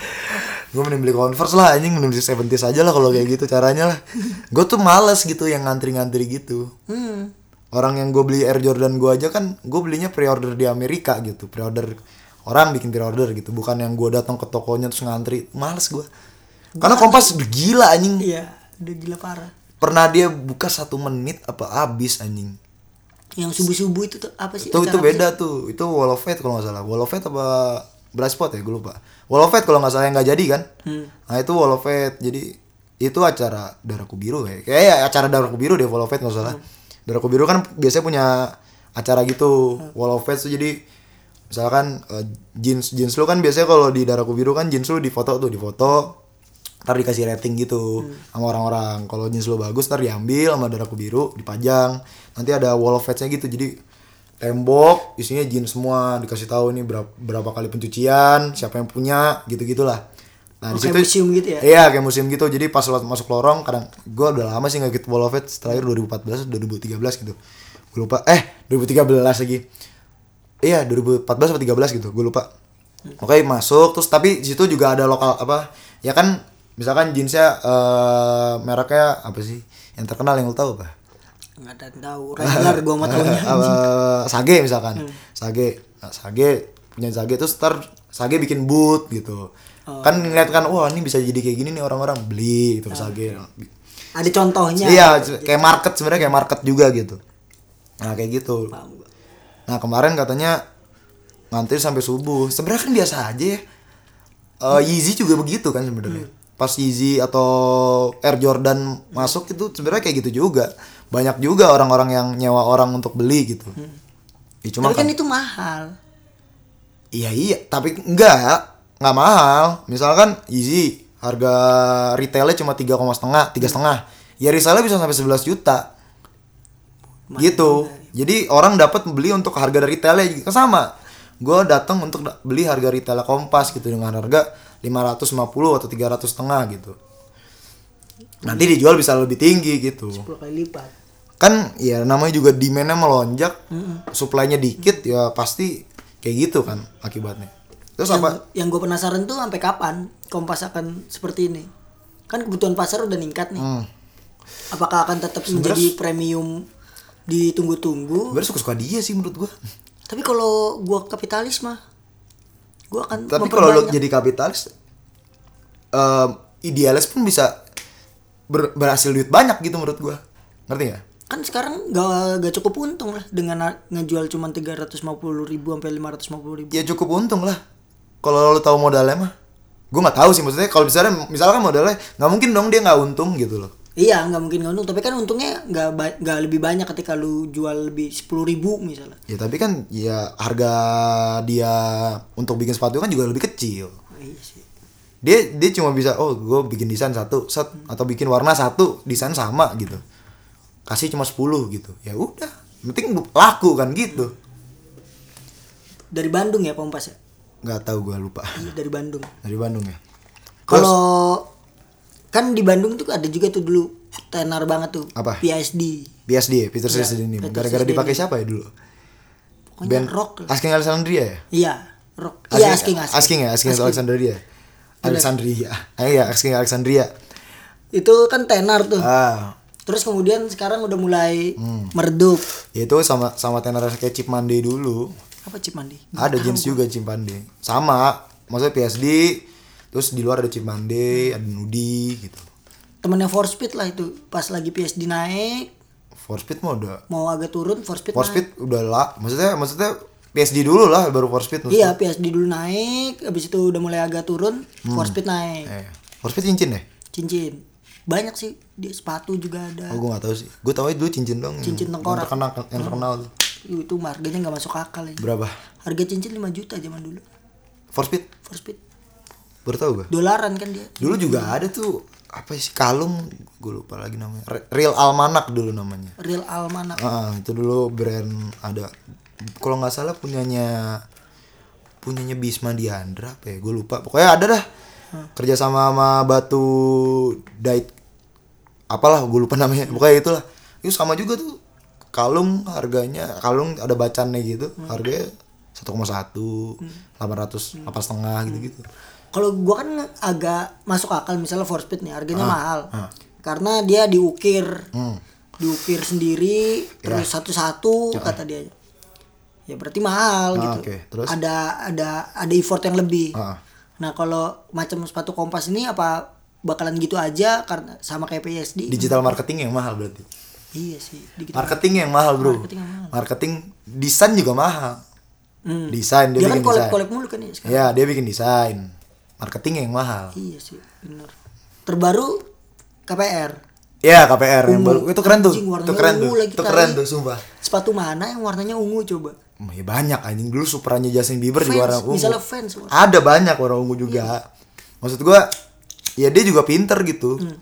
S1: gue mending beli converse lah anjing mending beli seventies aja lah kalau kayak gitu caranya lah gue tuh males gitu yang ngantri ngantri gitu
S2: Hmm,
S1: orang yang gue beli Air Jordan gue aja kan gue belinya pre-order di Amerika gitu pre-order orang bikin pre-order gitu bukan yang gue datang ke tokonya terus ngantri males gue karena kompas gila anjing
S2: Iya, udah gila parah.
S1: pernah dia buka satu menit apa abis anjing
S2: Yang subuh-subuh itu tuh apa sih?
S1: itu
S2: acara
S1: itu
S2: apa
S1: beda tuh itu wall of fate kalau nggak salah wall of fate apa blast spot ya gue lupa wall of fate kalau nggak salah yang nggak jadi kan nah itu wall of fate jadi itu acara daraku biru kayak kayak ya, acara daraku biru deh Wall of Fame nggak salah daraku biru kan biasanya punya acara gitu Wall of Fame tuh jadi misalkan eh, jeans jeans lu kan biasanya kalau di daraku biru kan jeans lu difoto tuh difoto ntar dikasih rating gitu sama orang-orang kalau jeans lu bagus ntar diambil sama daraku biru dipajang nanti ada wall of fame-nya gitu jadi tembok isinya jeans semua dikasih tahu nih berapa, berapa kali pencucian siapa yang punya gitu gitulah nah
S2: Oh, kayak museum gitu ya?
S1: iya kayak museum gitu jadi pas lo masuk lorong kadang gue udah lama sih nggak ikut wall of fame terakhir 2014 2013 gitu gue lupa eh 2013 lagi iya 2014 atau 13 gitu gue lupa oke masuk terus tapi di situ juga ada lokal apa ya kan misalkan jeansnya eh, mereknya apa sih yang terkenal yang lo tahu apa
S2: nggak ada yang tahu regular gua mau tahunya
S1: Eh, sage misalkan sage Nah, sage punya sage terus ntar sage bikin boot gitu kan ngeliat kan wah ini bisa jadi kayak gini nih orang-orang beli gitu sage
S2: ada contohnya
S1: iya kayak market sebenarnya kayak market juga gitu nah kayak gitu
S2: Paham gua.
S1: Nah kemarin katanya ngantri sampai subuh. Sebenarnya kan biasa aja ya. Eh, Yeezy juga begitu kan sebenarnya.
S2: Hmm.
S1: Pas Yeezy atau Air Jordan masuk itu sebenarnya kayak gitu juga. Banyak juga orang-orang yang nyewa orang untuk beli gitu. Ya, cuma
S2: Hmm. tapi kan
S1: kan-
S2: itu mahal
S1: Iya iya, tapi enggak nggak mahal. Misalkan Yeezy harga retailnya cuma tiga koma setengah, tiga setengah. Ya resellnya bisa sampai 11 juta. gitu. Jadi orang dapat beli untuk harga dari retailnya juga sama. Gue datang untuk da- beli harga retailnya Kompas gitu dengan harga 550 atau 300 setengah gitu. Nanti dijual bisa lebih tinggi gitu
S2: 10 kali lipat
S1: kan ya namanya juga demandnya melonjak supply-nya dikit ya pasti kayak gitu kan akibatnya terus
S2: yang,
S1: apa
S2: yang gue penasaran tuh sampai kapan kompas akan seperti ini kan kebutuhan pasar udah ningkat nih
S1: Hmm.
S2: apakah akan tetap menjadi premium ditunggu-tunggu
S1: sebenarnya suka-suka dia sih menurut gua
S2: tapi kalau gua kapitalis mah gua akan
S1: tapi kalau lo
S2: memperbanyak.
S1: jadi kapitalis em, idealis pun bisa ber- berhasil duit banyak gitu menurut gua ngerti nggak
S2: kan sekarang gak, gak cukup untung lah dengan na- ngejual cuma 350 ribu sampai 550 ribu
S1: ya cukup untung lah kalau lo tahu modalnya mah gua nggak tahu sih maksudnya kalau misalnya misalkan modalnya nggak mungkin dong dia nggak untung gitu loh
S2: iya nggak mungkin nggak untung tapi kan untungnya nggak ba- nggak lebih banyak ketika lu jual lebih 10 ribu misalnya
S1: ya tapi kan ya harga dia untuk bikin sepatu kan juga lebih kecil
S2: Oh, iya sih
S1: dia dia cuma bisa oh gue bikin desain satu set atau bikin warna satu desain sama gitu kasih cuma 10 gitu ya udah yang penting laku kan gitu
S2: dari Bandung ya kompas ya
S1: nggak tahu gue lupa
S2: Iya, dari Bandung
S1: dari Bandung ya Terus-
S2: Kalau kan di Bandung tuh ada juga tuh dulu tenar banget tuh.
S1: Apa?
S2: PSD.
S1: BSD ya, Peter
S2: Iya,
S1: Sesdin ini
S2: Peter
S1: gara-gara
S2: Sesdin.
S1: dipakai siapa ya dulu
S2: Pokoknya
S1: Ben
S2: rock lah.
S1: Asking Alexandria ya
S2: Iya, rock. Iya, asking, asking.
S1: Asking ya Asking, Alexandria Alexandria ah, iya Asking Alexandria
S2: Itu kan tenar tuh.
S1: ah
S2: Terus kemudian sekarang udah mulai
S1: Hmm.
S2: meredup.
S1: ya itu sama sama tenor kayak Chip Mande dulu
S2: Apa Cip Mandi?
S1: ada jeans juga Cimande sama maksudnya PSD terus di luar ada Cimande ada Nudi gitu
S2: Temennya Four Speed lah itu. Pas lagi PSD naik,
S1: For Speed mah udah
S2: mau agak turun Four Speed
S1: For
S2: naik.
S1: Speed udah lah maksudnya maksudnya PSD dulu lah baru For Speed maksudnya.
S2: Iya, PSD dulu naik, habis itu udah mulai agak turun,
S1: Hmm.
S2: Four Speed naik.
S1: eh, For Speed cincin ya
S2: Cincin. Banyak sih, di sepatu juga ada.
S1: oh gue gak tau sih gue tau aja dulu cincin dong
S2: Cincin
S1: yang
S2: tengkorak. Hmm.
S1: terkenal yang terkenal tuh.
S2: Ih, Itu harganya nggak masuk akal ya.
S1: berapa
S2: Harga cincin 5 juta zaman dulu.
S1: For Speed
S2: Four Speed.
S1: baru tau gue
S2: Dolaran kan dia.
S1: dulu juga ada tuh apa sih kalung gue lupa lagi namanya Re- Real Almanak dulu namanya
S2: Real Almanak.
S1: Ah, itu dulu brand ada kalau nggak salah punyanya punyanya Bisma Diandra apa ya gue lupa pokoknya ada dah
S2: Hmm.
S1: kerja sama sama Batu Dait apalah gue lupa namanya pokoknya itulah itu sama juga tuh kalung harganya kalung ada bacannya gitu
S2: Hmm.
S1: harganya 1,1 800 apa setengah gitu gitu
S2: Hmm. Kalau gua kan agak masuk akal misalnya four speed nih harganya
S1: Ah,
S2: mahal. Karena dia diukir.
S1: Hmm.
S2: Diukir sendiri
S1: Iya.
S2: terus satu-satu kata dia. Ya berarti
S1: Ah,
S2: mahal gitu.
S1: oke. Terus?
S2: Ada ada ada effort yang lebih.
S1: Ah.
S2: Nah, kalau macam sepatu kompas ini apa bakalan gitu aja karena sama kayak PSD?
S1: digital marketing yang mahal berarti
S2: Iya sih, digital.
S1: marketing yang mahal bro
S2: Marketing
S1: marketing,
S2: yang
S1: desain juga mahal
S2: Hmm.
S1: desain dia,
S2: Dia kan
S1: bikin desain
S2: kolek-kolek mulu kan ya sekarang.
S1: Ya, dia bikin desain. Marketing yang mahal.
S2: Iya sih, benar. Terbaru KPR
S1: Ya KPR yang baru
S2: Ungu.
S1: itu keren tuh.
S2: Uh, Anjing, warnanya
S1: Itu keren
S2: ungu
S1: tuh.
S2: lagi
S1: Itu
S2: tai.
S1: keren tuh sumpah.
S2: sepatu mana yang warnanya ungu coba
S1: Hmm, Ya banyak anjing dulu supranya Justin Bieber
S2: fans,
S1: juga warna ungu. Ah,
S2: misalnya Iya. fans
S1: Ada banyak warna ungu juga. Maksud gua ya dia juga pinter gitu.
S2: Hmm.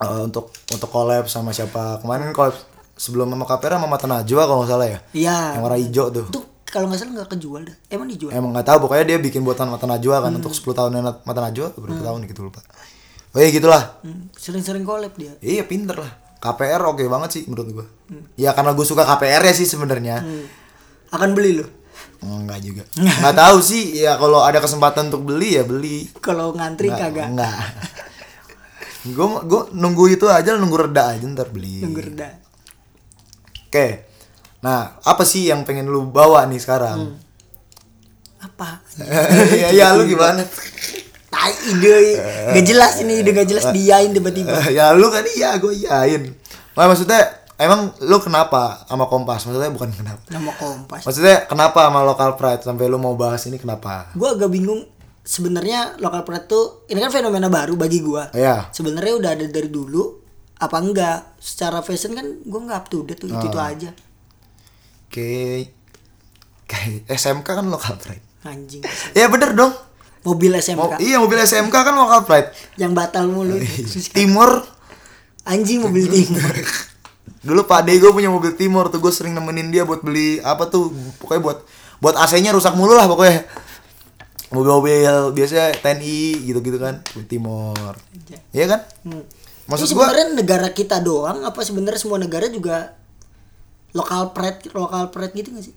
S1: Eh, untuk untuk collab sama siapa kemarin collab sebelum sama KPR sama Mata Najwa kalau nggak salah ya. Yang
S2: iya
S1: warna hijau tuh.
S2: itu kalau nggak salah nggak kejual dah emang dijual
S1: Emang nggak tahu pokoknya dia bikin buatan Mata Najwa
S2: Hmm.
S1: kan untuk 10 tahun Mata Najwa berapa tahun gitu lupa. Oh ya gitulah.
S2: Hmm, sering-sering collab dia
S1: Iya pinter lah. KPR oke banget sih menurut gua. Ya karena gue suka KPR ya sih sebenarnya.
S2: akan beli loh
S1: Enggak juga. Enggak tahu sih. Ya kalau ada kesempatan untuk beli ya beli.
S2: kalau ngantri kagak
S1: Enggak. Gue gue nunggu itu aja nunggu reda aja ntar beli.
S2: nunggu reda
S1: Oke. Nah, apa sih yang pengen lu bawa nih sekarang?
S2: apa
S1: ya ya lu gimana?
S2: tai ide gak jelas ini ide gak jelas diain tiba-tiba
S1: ya lu kan iya gue iyain. Nah, maksudnya emang lu kenapa sama Kompas? Maksudnya bukan kenapa.
S2: nama kompas
S1: Maksudnya kenapa sama Local Pride sampai lu mau bahas ini kenapa?
S2: gue agak bingung sebenarnya lokal pride tuh ini kan fenomena baru bagi gue
S1: Iya.
S2: sebenarnya udah ada dari dulu apa enggak secara fashion kan gue nggak up to date tuh itu itu
S1: Ah.
S2: aja
S1: Oke. Kayak SMK kan Local Pride.
S2: anjing
S1: Ya bener dong.
S2: mobil
S1: Mo-
S2: SMK
S1: iya mobil SMK kan Local Pride.
S2: yang batal mulu
S1: Oh, iya. Timur
S2: anjing mobil timur
S1: dulu Pak Dego punya mobil Timur tuh gue sering nemenin dia buat beli apa tuh pokoknya buat buat AC-nya rusak mulu lah pokoknya mobil-mobil biasanya TNI gitu-gitu kan Timur iya kan
S2: Ini
S1: maksud gua
S2: sebenarnya negara kita doang apa sebenarnya semua negara juga lokal pride lokal pride gitu gak sih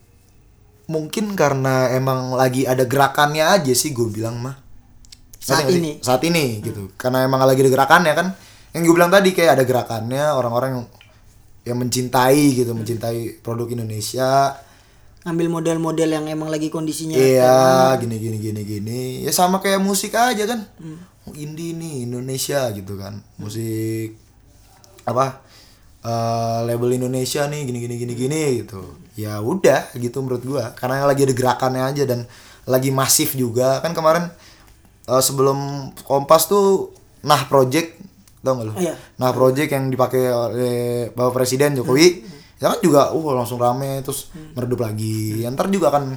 S1: mungkin karena emang lagi ada gerakannya aja sih gue bilang mah
S2: Saat
S1: Ngerti nggak
S2: ini. Hmm.
S1: sih? saat ini gitu karena emang lagi ada gerakannya kan yang gue bilang tadi kayak ada gerakannya orang-orang yang yang mencintai gitu mencintai produk Indonesia
S2: ngambil model-model yang emang lagi kondisinya
S1: Iya, gini gini gini gini. Ya sama kayak musik aja kan. Oh, Indie nih Indonesia gitu kan. Musik apa? eh, label Indonesia nih gini gini gini gini gitu. Ya udah gitu menurut gua. Karena lagi ada gerakannya aja dan lagi masif juga. Kan kemarin eh, sebelum Kompas tuh Nah Project tau gak lu?
S2: Iya.
S1: Nah project yang dipakai oleh Bapak Presiden Jokowi
S2: Hmm.
S1: ya kan juga uh langsung rame terus meredup lagi. Ya, ntar juga akan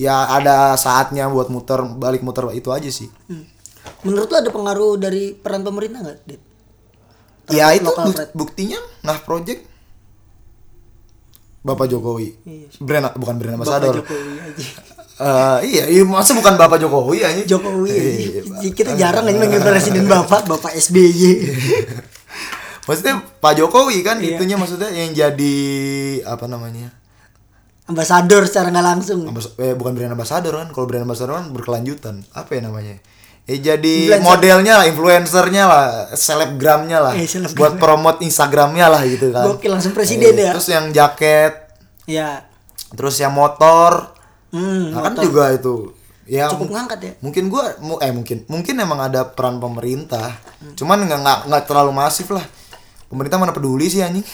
S1: ya ada saatnya buat muter balik muter itu aja sih.
S2: Hmm. menurut lo ada pengaruh dari peran pemerintah nggak Dit?
S1: Ya itu
S2: kan lokal
S1: buk-
S2: brand.
S1: buktinya Nah project Bapak Jokowi.
S2: Iya.
S1: Brand bukan brand ambassador.
S2: Jokowi aja.
S1: Eh, iya, iya, masa bukan Bapak Jokowi aja.
S2: Jokowi aja.
S1: Iya,
S2: kita jarang aja manggil presiden bapak bapak SBY
S1: Iya. Maksudnya Pak Jokowi kan
S2: Iya.
S1: itunya maksudnya yang jadi apa namanya?
S2: ambasador secara nggak langsung
S1: Ambas- eh, bukan brand ambassador kan kalau brand ambassador kan berkelanjutan apa ya namanya eh jadi
S2: Influencer.
S1: modelnya lah influencernya lah selebgramnya lah
S2: Eh, selebgram.
S1: buat promote instagramnya lah gitu kan
S2: Gokil, langsung presiden ya.
S1: terus yang jaket
S2: ya
S1: terus yang motor
S2: hmm,
S1: nah, kan juga itu ya
S2: cukup
S1: mung-
S2: ngangkat ya
S1: mungkin gua mu- eh mungkin mungkin emang ada peran pemerintah cuman nggak nggak nggak terlalu masif lah pemerintah mana peduli sih anjing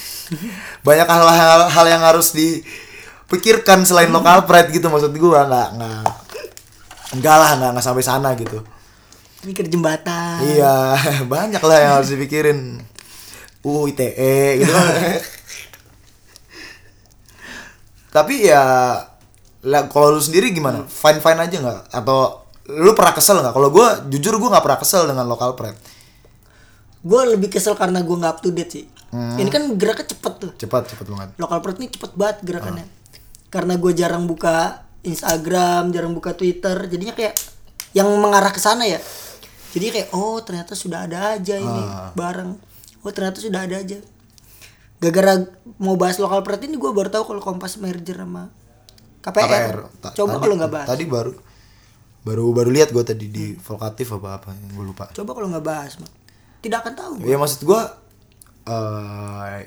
S1: banyak hal-hal hal yang harus dipikirkan selain lokal pride gitu maksud gua nggak nggak enggak lah nggak nggak sampai sana gitu
S2: mikir jembatan
S1: iya banyak lah yang harus dipikirin UU ITE gitu kan. tapi ya lah kalau lu sendiri gimana
S2: Hmm.
S1: fine fine aja nggak atau lu pernah kesel nggak kalau gue jujur gue nggak pernah kesel dengan lokal pride
S2: gue lebih kesel karena gue nggak up to date sih
S1: Hmm.
S2: ini kan geraknya cepet tuh
S1: cepat cepat banget
S2: lokal pride ini cepet banget
S1: Ah.
S2: gerakannya karena gue jarang buka Instagram jarang buka Twitter jadinya kayak yang mengarah ke sana ya jadi kayak oh ternyata sudah ada aja ini
S1: Ah.
S2: barang oh ternyata sudah ada aja gara-gara mau bahas lokal pride ini gue baru tahu kalau Kompas merger sama
S1: KPR
S2: KPR,
S1: Ta-
S2: coba
S1: tadi-
S2: kalau nggak bahas
S1: tadi baru baru baru lihat gue tadi di Volkatif apa apa gue lupa
S2: coba kalau nggak bahas Mak. tidak akan tahu
S1: Ya maksud gua eh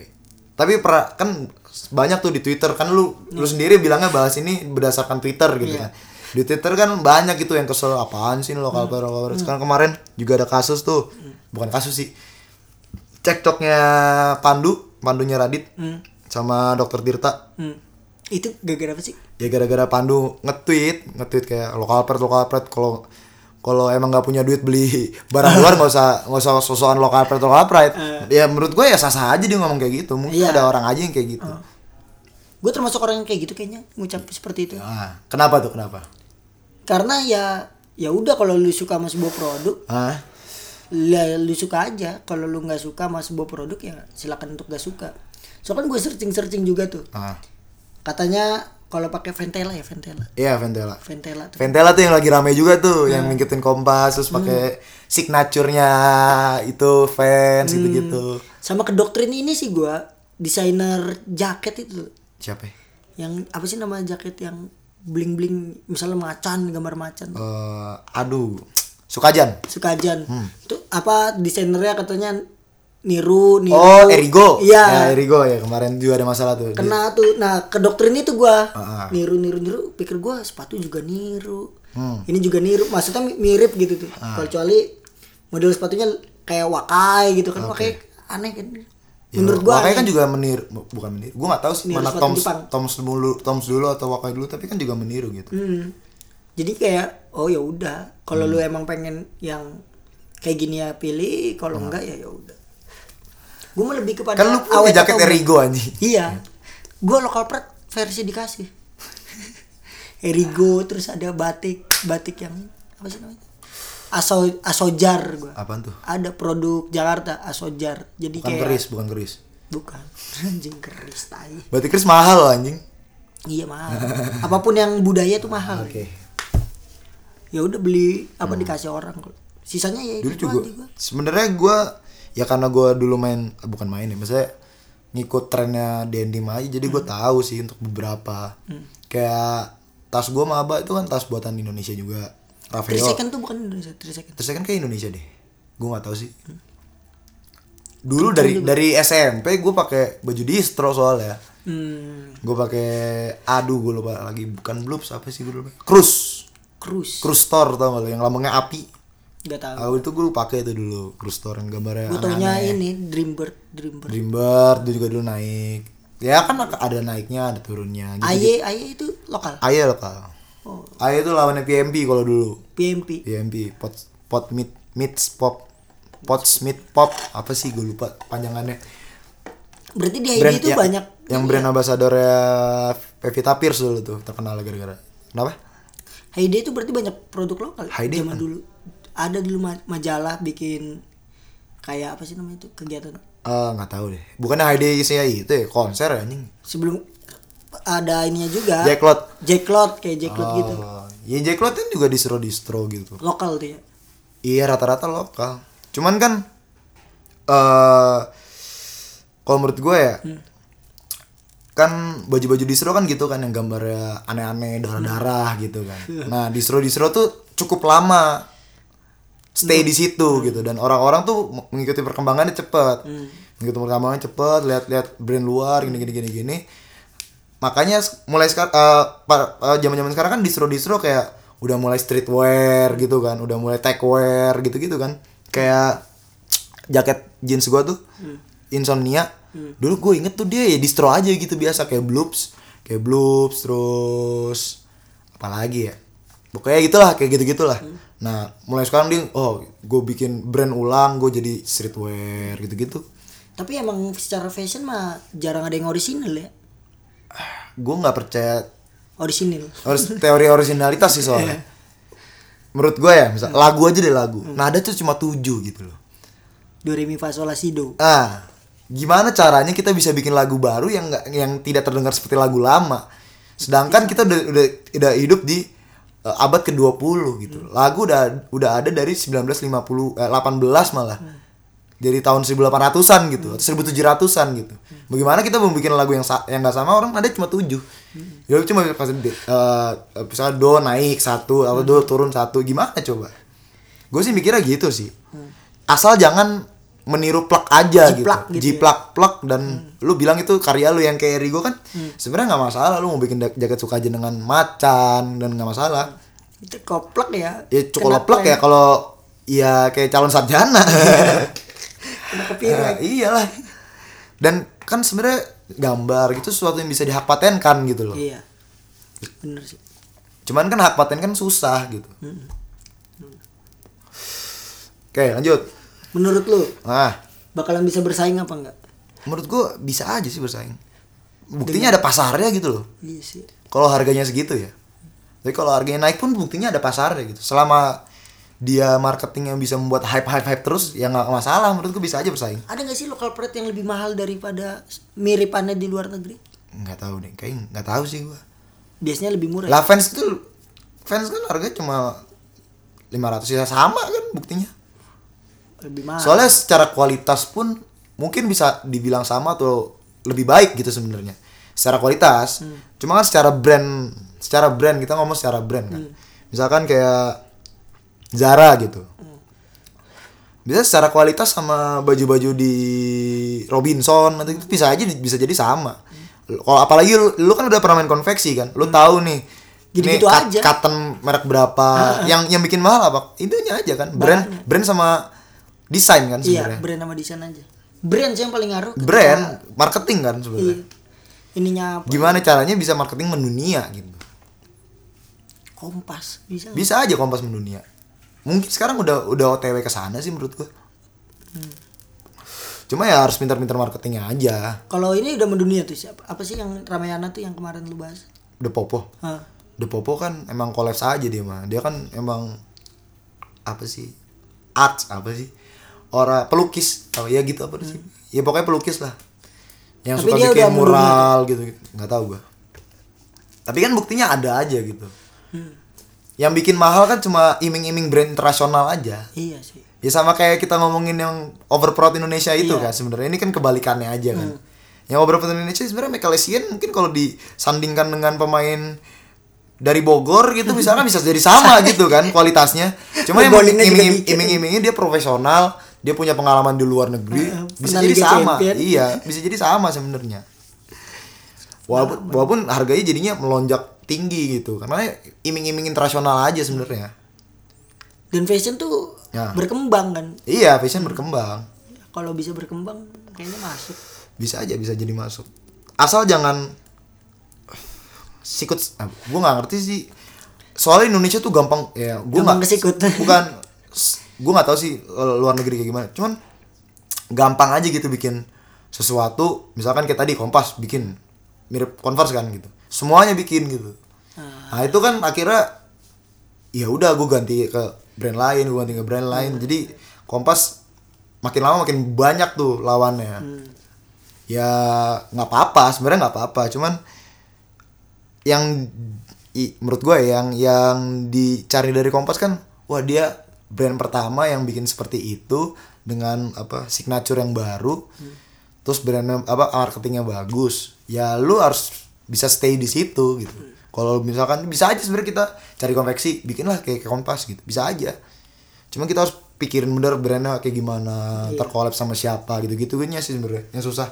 S1: tapi pra, kan banyak tuh di Twitter kan lu lu sendiri bilangnya bahas ini berdasarkan Twitter gitu kan. Di Twitter kan banyak gitu yang kesel apaan sih ini lokal lokal lokal. Sekarang kemarin juga ada kasus tuh. Bukan kasus sih. Cekcoknya Pandu, Pandunya Radit sama Dokter Tirta.
S2: Hmm. itu gara-gara apa sih
S1: Ya gara-gara Pandu nge-tweet, nge-tweet kayak lokal pride lokal pride kalau kalau emang nggak punya duit beli barang luar nggak usah nggak usah sosokan lokal pride lokal pride ya menurut gue ya sah sah aja dia ngomong kayak gitu mungkin
S2: Eh. Iya. Oh.
S1: ada orang aja yang kayak gitu
S2: gue termasuk orang yang kayak gitu kayaknya ngucap seperti itu
S1: Ah, kenapa tuh kenapa
S2: karena ya ya udah kalau lu suka sama sebuah produk
S1: ah
S2: lah lu suka aja kalau lu nggak suka sama sebuah produk ya silakan untuk gak suka soalnya gue searching searching juga tuh
S1: ah
S2: katanya kalau pakai ventela ya ventela
S1: iya Ventela
S2: ventela tuh
S1: Ventela tuh yang lagi rame juga
S2: Hmm.
S1: tuh yang ngikutin kompas terus pakai signaturnya itu fans gitu gitu
S2: sama ke doktrin ini sih gua desainer jaket itu
S1: siapa ya?
S2: yang apa sih nama jaket yang bling bling misalnya macan gambar macan
S1: Eh, aduh Sukajan
S2: sukajan
S1: Hmm.
S2: tuh apa desainernya katanya niru niru
S1: oh Erigo
S2: iya
S1: ya, Erigo ya kemarin juga ada masalah tuh Dia-
S2: kena tuh nah ke doktrin itu gua
S1: Ah.
S2: niru niru niru pikir gua sepatu juga niru
S1: Hmm.
S2: ini juga niru maksudnya mi- mirip gitu tuh
S1: Ah.
S2: kecuali model sepatunya kayak wakai gitu kan wakai aneh kan
S1: Ya,
S2: menurut gua
S1: Wakai
S2: aneh.
S1: kan juga meniru bu- bukan meniru. Gua nggak tahu sih
S2: Meniru
S1: mana
S2: sepatu
S1: Toms
S2: Jepang.
S1: Toms dulu Toms dulu atau Wakai dulu tapi kan juga meniru gitu.
S2: Hmm. Jadi kayak oh ya udah, kalau lu
S1: Hmm.
S2: emang pengen yang kayak gini ya pilih, kalau enggak ya ya udah. Gue mah lebih
S1: Hmm.
S2: kepada
S1: Kan lu punya
S2: awet
S1: jaket
S2: atau enggak.
S1: Erigo anjing.
S2: Iya. Gue lokal pride versi dikasih. Erigo terus ada batik, batik yang apa sih namanya? Aso Asojar gua.
S1: Apaan tuh?
S2: Ada produk Jakarta Asojar. Jadi
S1: Bukan
S2: kayak
S1: keris, bukan keris.
S2: Bukan. Anjing keris tai.
S1: Berarti keris mahal loh anjing.
S2: Iya mahal. Apapun yang budaya tuh mahal. ya udah beli apa dikasih orang sisanya ya
S1: Hmm. Dulu
S2: itu
S1: juga
S2: aja gua.
S1: sebenarnya gua ya karena gua dulu main eh, bukan main ya, maksudnya ngikut trennya Denim aja jadi
S2: Hmm.
S1: gua tahu sih untuk beberapa. Kayak tas gua Maba itu kan tas buatan Indonesia juga.
S2: Three
S1: Rafael.
S2: second tuh bukan Indonesia three second
S1: Terus kan kayak Indonesia deh. Gue nggak tahu sih. Dulu dari dari SMP gue pakai baju distro soalnya.
S2: hmm,
S1: Gue pakai aduh gue lupa lagi bukan bloops apa sih gue lupa. Cruz.
S2: cruise
S1: Cruz store tau gak lo yang lambangnya api.
S2: nggak tahu
S1: Ah itu gue pakai itu dulu Cruz store yang gambarnya
S2: gue taunya ini Dreambird Dreambird
S1: Dreambird itu juga dulu naik. Ya kan ada naiknya, ada turunnya gitu.
S2: Aye Aye itu lokal
S1: Aye loh kal.
S2: Oh.
S1: Aye itu lawannya PMP kalau dulu.
S2: PMP
S1: BMP pot pot meat meat pop pot smith pop apa sih gue lupa panjangannya
S2: berarti di Aye itu
S1: ya-
S2: banyak Iya.
S1: yang brand ambassador Pevita Pierce dulu tuh terkenal gara-gara kenapa
S2: Aye itu berarti banyak produk lokal
S1: Aye Day
S2: zaman
S1: kan?
S2: dulu ada dulu ma- majalah bikin kayak apa sih namanya itu kegiatan
S1: Eh, nggak tahu deh bukannya Hyde isinya itu ya konser ya, anjing
S2: sebelum ada ininya juga
S1: Jacklot
S2: Jacklot kayak Jacklot gitu
S1: Oh, ya Jack Lot kan juga distro distro gitu
S2: lokal tuh ya
S1: iya rata-rata lokal cuman kan eh kalau menurut gue ya kan baju-baju distro kan gitu kan yang gambarnya aneh-aneh darah-darah gitu kan nah distro-distro tuh cukup lama stay di situ gitu dan orang-orang tuh mengikuti perkembangannya cepet mengikuti perkembangannya cepet lihat-lihat brand luar gini gini gini gini makanya s- mulai sekarang zaman-zaman sekarang kan distro-distro kayak udah mulai streetwear gitu kan udah mulai techwear gitu-gitu kan kayak jaket jeans gua tuh insomnia dulu gue inget tuh dia ya distro aja gitu biasa kayak bloops kayak bloops terus apalagi ya pokoknya gitulah kayak gitu gitulah nah mulai sekarang dia oh gue bikin brand ulang gue jadi streetwear gitu gitu
S2: Tapi emang secara fashion mah jarang ada yang orisinil ya.
S1: gue nggak percaya
S2: Orisinil.
S1: harus teori originalitas sih soalnya menurut gue ya misal lagu aja deh lagu nada tuh cuma tujuh gitu loh
S2: Do re mi fa sol la si do.
S1: Ah, gimana caranya kita bisa bikin lagu baru yang nggak yang tidak terdengar seperti lagu lama? Sedangkan kita udah udah, udah hidup di eh, abad ke-20 gitu. Lagu udah udah ada dari 1950 eh, 18 malah. Dari tahun 1800-an gitu, atau 1700-an gitu. Bagaimana kita mau bikin lagu yang sa- yang nggak sama orang ada cuma 7. Ya cuma pas di- eh, misalnya do naik satu atau do turun satu gimana coba? Gue sih mikirnya gitu sih. Asal jangan meniru plak aja
S2: Jiplak
S1: gitu.
S2: gitu ya.
S1: Jiplak plak dan lu bilang itu karya lu yang kayak Rigo kan sebenarnya nggak masalah lu mau bikin da- jaket suka aja dengan macan dan nggak masalah.
S2: Itu koplak ya.
S1: Ya cukup plak ya
S2: plak
S1: kalau ya kayak calon sarjana.
S2: Kena ya?
S1: Iya
S2: copyright.
S1: iyalah. Dan kan sebenarnya gambar gitu sesuatu yang bisa dihak patenkan gitu loh.
S2: Iya. Bener sih.
S1: Cuman kan hak paten kan susah gitu. Oke, lanjut.
S2: Menurut lu
S1: Nah,
S2: bakalan bisa bersaing apa enggak?
S1: menurut gua bisa aja sih bersaing. Buktinya ada pasarnya gitu loh.
S2: Iya sih.
S1: Kalau harganya segitu ya. Tapi kalau harganya naik pun buktinya ada pasarnya gitu. Selama dia marketing yang bisa membuat hype hype hype terus ya nggak masalah menurut gua bisa aja bersaing.
S2: Ada nggak sih lokal product yang lebih mahal daripada miripannya di luar negeri?
S1: Nggak tahu deh, kayaknya nggak tahu sih gua.
S2: Biasanya lebih murah.
S1: Lah fans tuh fans kan harganya cuma 500 ya sama kan buktinya.
S2: Lebih mahal.
S1: Soalnya secara kualitas pun mungkin bisa dibilang sama atau lebih baik gitu sebenarnya. Secara kualitas, cuma kan secara brand, secara brand kita ngomong secara brand kan. Misalkan kayak Zara gitu. Bisa secara kualitas sama baju-baju di Robinson nanti itu bisa aja di- bisa jadi sama. L- Kalau apalagi lu, lu kan udah pernah main konveksi kan. Lu tahu nih
S2: Jadi
S1: ini
S2: gitu
S1: cut-
S2: aja.
S1: cotton merek berapa
S2: Ah,
S1: yang yang bikin mahal apa? Intinya aja kan brand brand sama desain kan
S2: Nah. iya,
S1: sebenarnya.
S2: brand sama desain aja. Brand sih yang paling ngaruh. ketika-
S1: brand marketing kan sebenarnya.
S2: Iya. Ininya apa?
S1: Gimana caranya bisa marketing mendunia gitu.
S2: Hmm. Kompas bisa. nggak?
S1: Bisa aja Kompas mendunia. Mungkin sekarang udah udah OTW ke sana sih menurut gua.
S2: Hmm.
S1: Cuma ya harus pintar-pintar marketingnya aja.
S2: Kalau ini udah mendunia tuh siapa? Apa sih yang Ramayana tuh yang kemarin lu bahas?
S1: Udah popo.
S2: Hah?
S1: The Popo kan emang kolaps aja dia mah. Dia kan emang apa sih? Arts apa sih? Orang pelukis. Oh, ya gitu apa sih? Ya pokoknya pelukis lah. Yang
S2: Hmm. Tapi
S1: suka
S2: dia udah
S1: bikin
S2: merubah
S1: mural gitu, gitu. nggak tahu gua. Tapi kan buktinya ada aja gitu.
S2: Hmm.
S1: Yang bikin mahal kan cuma iming-iming brand internasional aja.
S2: Iya sih.
S1: Ya sama kayak kita ngomongin yang overproud Indonesia itu
S2: Iya. Hmm.
S1: kan sebenarnya ini kan kebalikannya aja kan. Yang overproud Indonesia sebenarnya Michael Essien mungkin kalau disandingkan dengan pemain dari Bogor gitu misalnya bisa jadi sama gitu kan kualitasnya. Cuma yang
S2: Bowlingnya juga
S1: iming,
S2: dikit.
S1: iming, imingnya dia profesional, dia punya pengalaman di luar negeri,
S2: Heeh,
S1: bisa
S2: Ah, pernah
S1: jadi
S2: Liga
S1: sama.
S2: Champion.
S1: Iya, bisa jadi sama sebenarnya. Walaupun,
S2: Nah,
S1: walaupun harganya jadinya melonjak tinggi gitu karena iming-iming internasional aja sebenarnya.
S2: Dan fashion tuh
S1: Ya.
S2: berkembang kan.
S1: Iya, fashion berkembang.
S2: Kalau bisa berkembang kayaknya masuk.
S1: bisa aja bisa jadi masuk asal jangan sikut ah, gue nggak ngerti sih soalnya Indonesia tuh gampang ya gue
S2: Iya, Gampang
S1: nggak
S2: kesikut.
S1: bukan gue nggak tahu sih eh, luar negeri kayak gimana cuman gampang aja gitu bikin sesuatu misalkan kayak tadi kompas bikin mirip converse kan gitu semuanya bikin gitu
S2: Ah.
S1: nah itu kan akhirnya ya udah gue ganti ke brand lain gue ganti ke brand lain
S2: Hmm.
S1: jadi kompas makin lama makin banyak tuh lawannya
S2: Hmm.
S1: ya nggak apa-apa sebenarnya nggak apa-apa cuman yang i- menurut gue yang yang dicari dari kompas kan wah dia brand pertama yang bikin seperti itu dengan apa signature yang baru terus brandnya apa marketingnya bagus ya lu harus bisa stay di situ gitu kalau misalkan bisa aja sebenarnya kita cari konveksi bikinlah kayak, kayak kompas gitu bisa aja cuma kita harus pikirin bener brandnya kayak gimana terkolab sama siapa gitu gitunya sih sebenarnya yang susah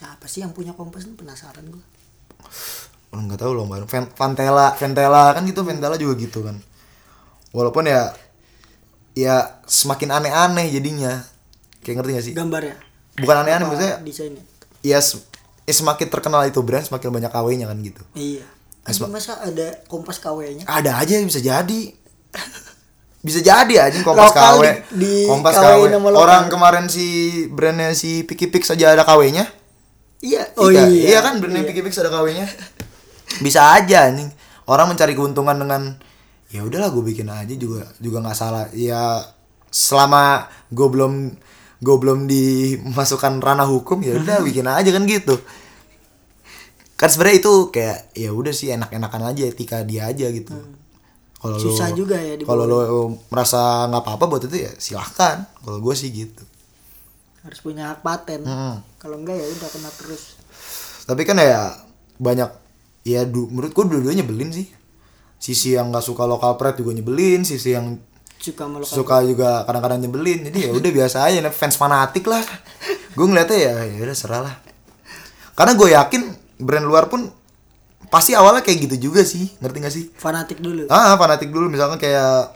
S2: Siapa sih yang punya kompas Ini penasaran gua.
S1: Oh, nggak tahu loh baru Ven- Ventela Ventela kan gitu Ventela juga gitu kan walaupun ya ya semakin aneh-aneh jadinya kayak ngerti gak sih
S2: Gambarnya.
S1: bukan aneh-aneh Iya. Kan maksudnya
S2: Apa desainnya.
S1: ya sem- ya semakin terkenal itu brand semakin banyak KW-nya kan gitu
S2: Iya. Tapi masa ada kompas KW-nya?
S1: ada aja yang bisa jadi bisa jadi aja kompas KW
S2: Lokal di- di
S1: kompas KW,
S2: KW nama lokal.
S1: orang kemarin si brandnya si Piki Pix aja ada KW-nya
S2: Iya.
S1: iya, iya kan brandnya Piki Pix ada KW-nya. Bisa aja anjing. Orang mencari keuntungan dengan ya udahlah gue bikin aja juga juga nggak salah. Ya selama gue belum gue belum dimasukkan ranah hukum ya udah bikin aja kan gitu. Kan sebenarnya itu kayak ya udah sih enak-enakan aja etika dia aja gitu. Kalau lu-
S2: Susah juga ya dibawa.
S1: Kalau lo merasa nggak apa-apa buat itu ya silahkan. Kalau gue sih gitu.
S2: Harus punya hak paten. Kalau enggak ya udah kena terus.
S1: tapi kan ya banyak ya du, menurut gua dua-duanya nyebelin sih sisi yang nggak suka lokal pride juga nyebelin sisi yang
S2: Suka melakukan
S1: suka juga kadang-kadang nyebelin jadi ya udah biasa aja nih, fans fanatik lah gue ngeliatnya ya ya udah serah lah karena gue yakin brand luar pun pasti awalnya kayak gitu juga sih ngerti gak sih
S2: fanatik dulu.
S1: ah fanatik dulu misalkan kayak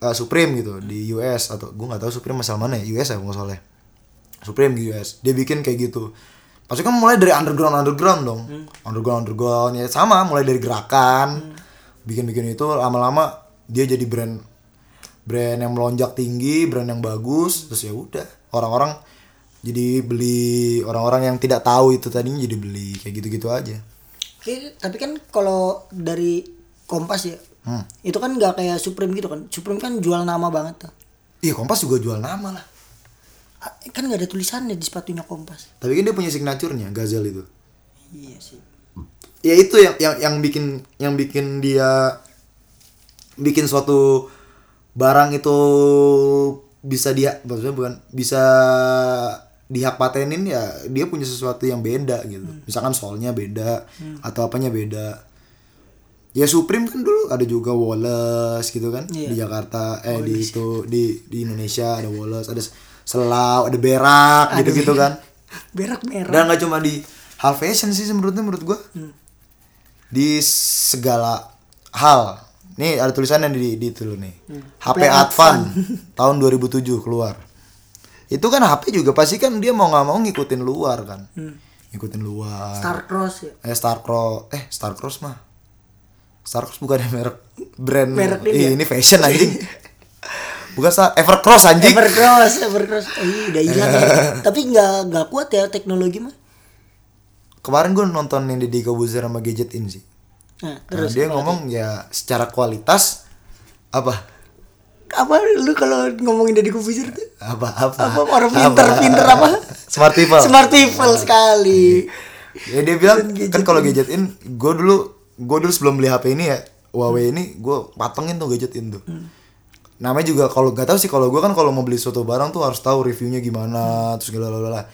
S1: eh, Supreme gitu di US atau gue nggak tahu Supreme masalah mana ya US ya nggak salah ya. Supreme di US dia bikin kayak gitu pasti kan mulai dari underground underground dong underground underground ya sama mulai dari gerakan bikin bikin itu lama-lama dia jadi brand brand yang melonjak tinggi brand yang bagus terus ya udah orang-orang jadi beli orang-orang yang tidak tahu itu tadinya jadi beli kayak gitu-gitu aja
S2: Oke, tapi kan kalau dari Kompas ya,
S1: Hmm.
S2: itu kan nggak kayak Supreme gitu kan. Supreme kan jual nama banget tuh.
S1: iya kompas juga jual nama lah
S2: Ah, Kan nggak ada tulisannya di sepatunya Kompas.
S1: tapi kan dia punya signaturnya Gazelle itu
S2: Iya sih.
S1: ya itu yang yang yang bikin yang bikin dia bikin suatu barang itu bisa dia maksudnya bukan bisa dihak patenin ya dia punya sesuatu yang beda gitu misalkan soalnya beda atau apanya beda ya Supreme kan dulu ada juga Wallace gitu kan di Jakarta eh di itu di di Indonesia ada Wallace ada Selau ada Berak gitu gitu kan
S2: Berak merah.
S1: dan nggak cuma di hal fashion sih menurutnya menurut gua
S2: Hmm.
S1: di segala hal nih ada tulisannya di di itu loh nih
S2: Hmm.
S1: HP Advan tahun 2007 keluar itu kan HP juga pasti kan dia mau nggak mau ngikutin luar kan ngikutin luar
S2: Hmm. Star Cross ya.
S1: eh Starcross eh Starcross mah Starcross bukan merek brand
S2: Merek ini
S1: Ih,
S2: ya?
S1: ini, fashion anjing bukan Star Evercross anjing
S2: Evercross, Evercross. Eh, udah hilang. ya. Tapi nggak nggak kuat ya teknologi mah.
S1: kemarin gua nonton yang Deddy Kobuzer sama Gadget In sih
S2: Nah,
S1: Terus
S2: terus
S1: dia ngomong ya secara kualitas apa
S2: apa lu kalau ngomongin dari Kubizir tuh?
S1: apa apa
S2: Apa orang pinter-pinter apa?
S1: smart people
S2: Smart people sekali.
S1: ya dia bilang
S2: Dan gadget
S1: kan kalau gadget in gue dulu gue dulu sebelum beli HP ini ya Huawei ini gue patengin tuh gadget in tuh
S2: Hmm.
S1: namanya juga kalau gak tahu sih kalau gue kan kalau mau beli suatu barang tuh harus tahu reviewnya gimana terus segala lah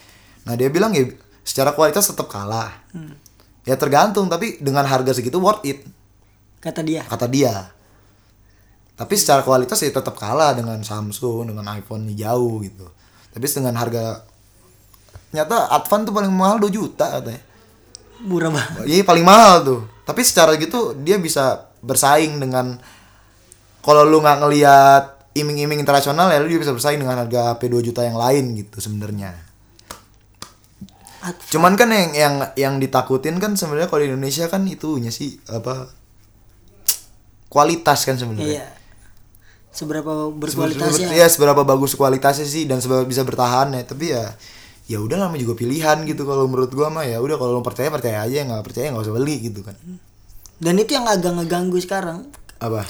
S1: nah dia bilang ya secara kualitas tetap kalah
S2: Hmm.
S1: ya tergantung tapi dengan harga segitu worth it
S2: Kata dia.
S1: kata dia tapi secara kualitas ya tetap kalah dengan Samsung dengan iPhone jauh gitu tapi dengan harga nyata Advan tuh paling mahal 2 juta katanya
S2: Murah banget.
S1: iya paling mahal tuh tapi secara gitu dia bisa bersaing dengan kalau lu nggak ngelihat iming-iming internasional ya lu juga bisa bersaing dengan harga HP 2 juta yang lain gitu sebenarnya
S2: Ad-
S1: cuman kan yang yang yang ditakutin kan sebenarnya kalau di Indonesia kan itunya sih apa kualitas kan sebenarnya
S2: Iya. Seberapa berkualitas
S1: Seber- ya
S2: ya?
S1: seberapa bagus kualitasnya sih dan seberapa bisa bertahan ya tapi ya ya udah lama juga pilihan gitu kalau menurut gua mah ya udah kalau lo percaya percaya aja nggak percaya nggak usah beli gitu kan
S2: Dan itu yang agak ngeganggu sekarang.
S1: apa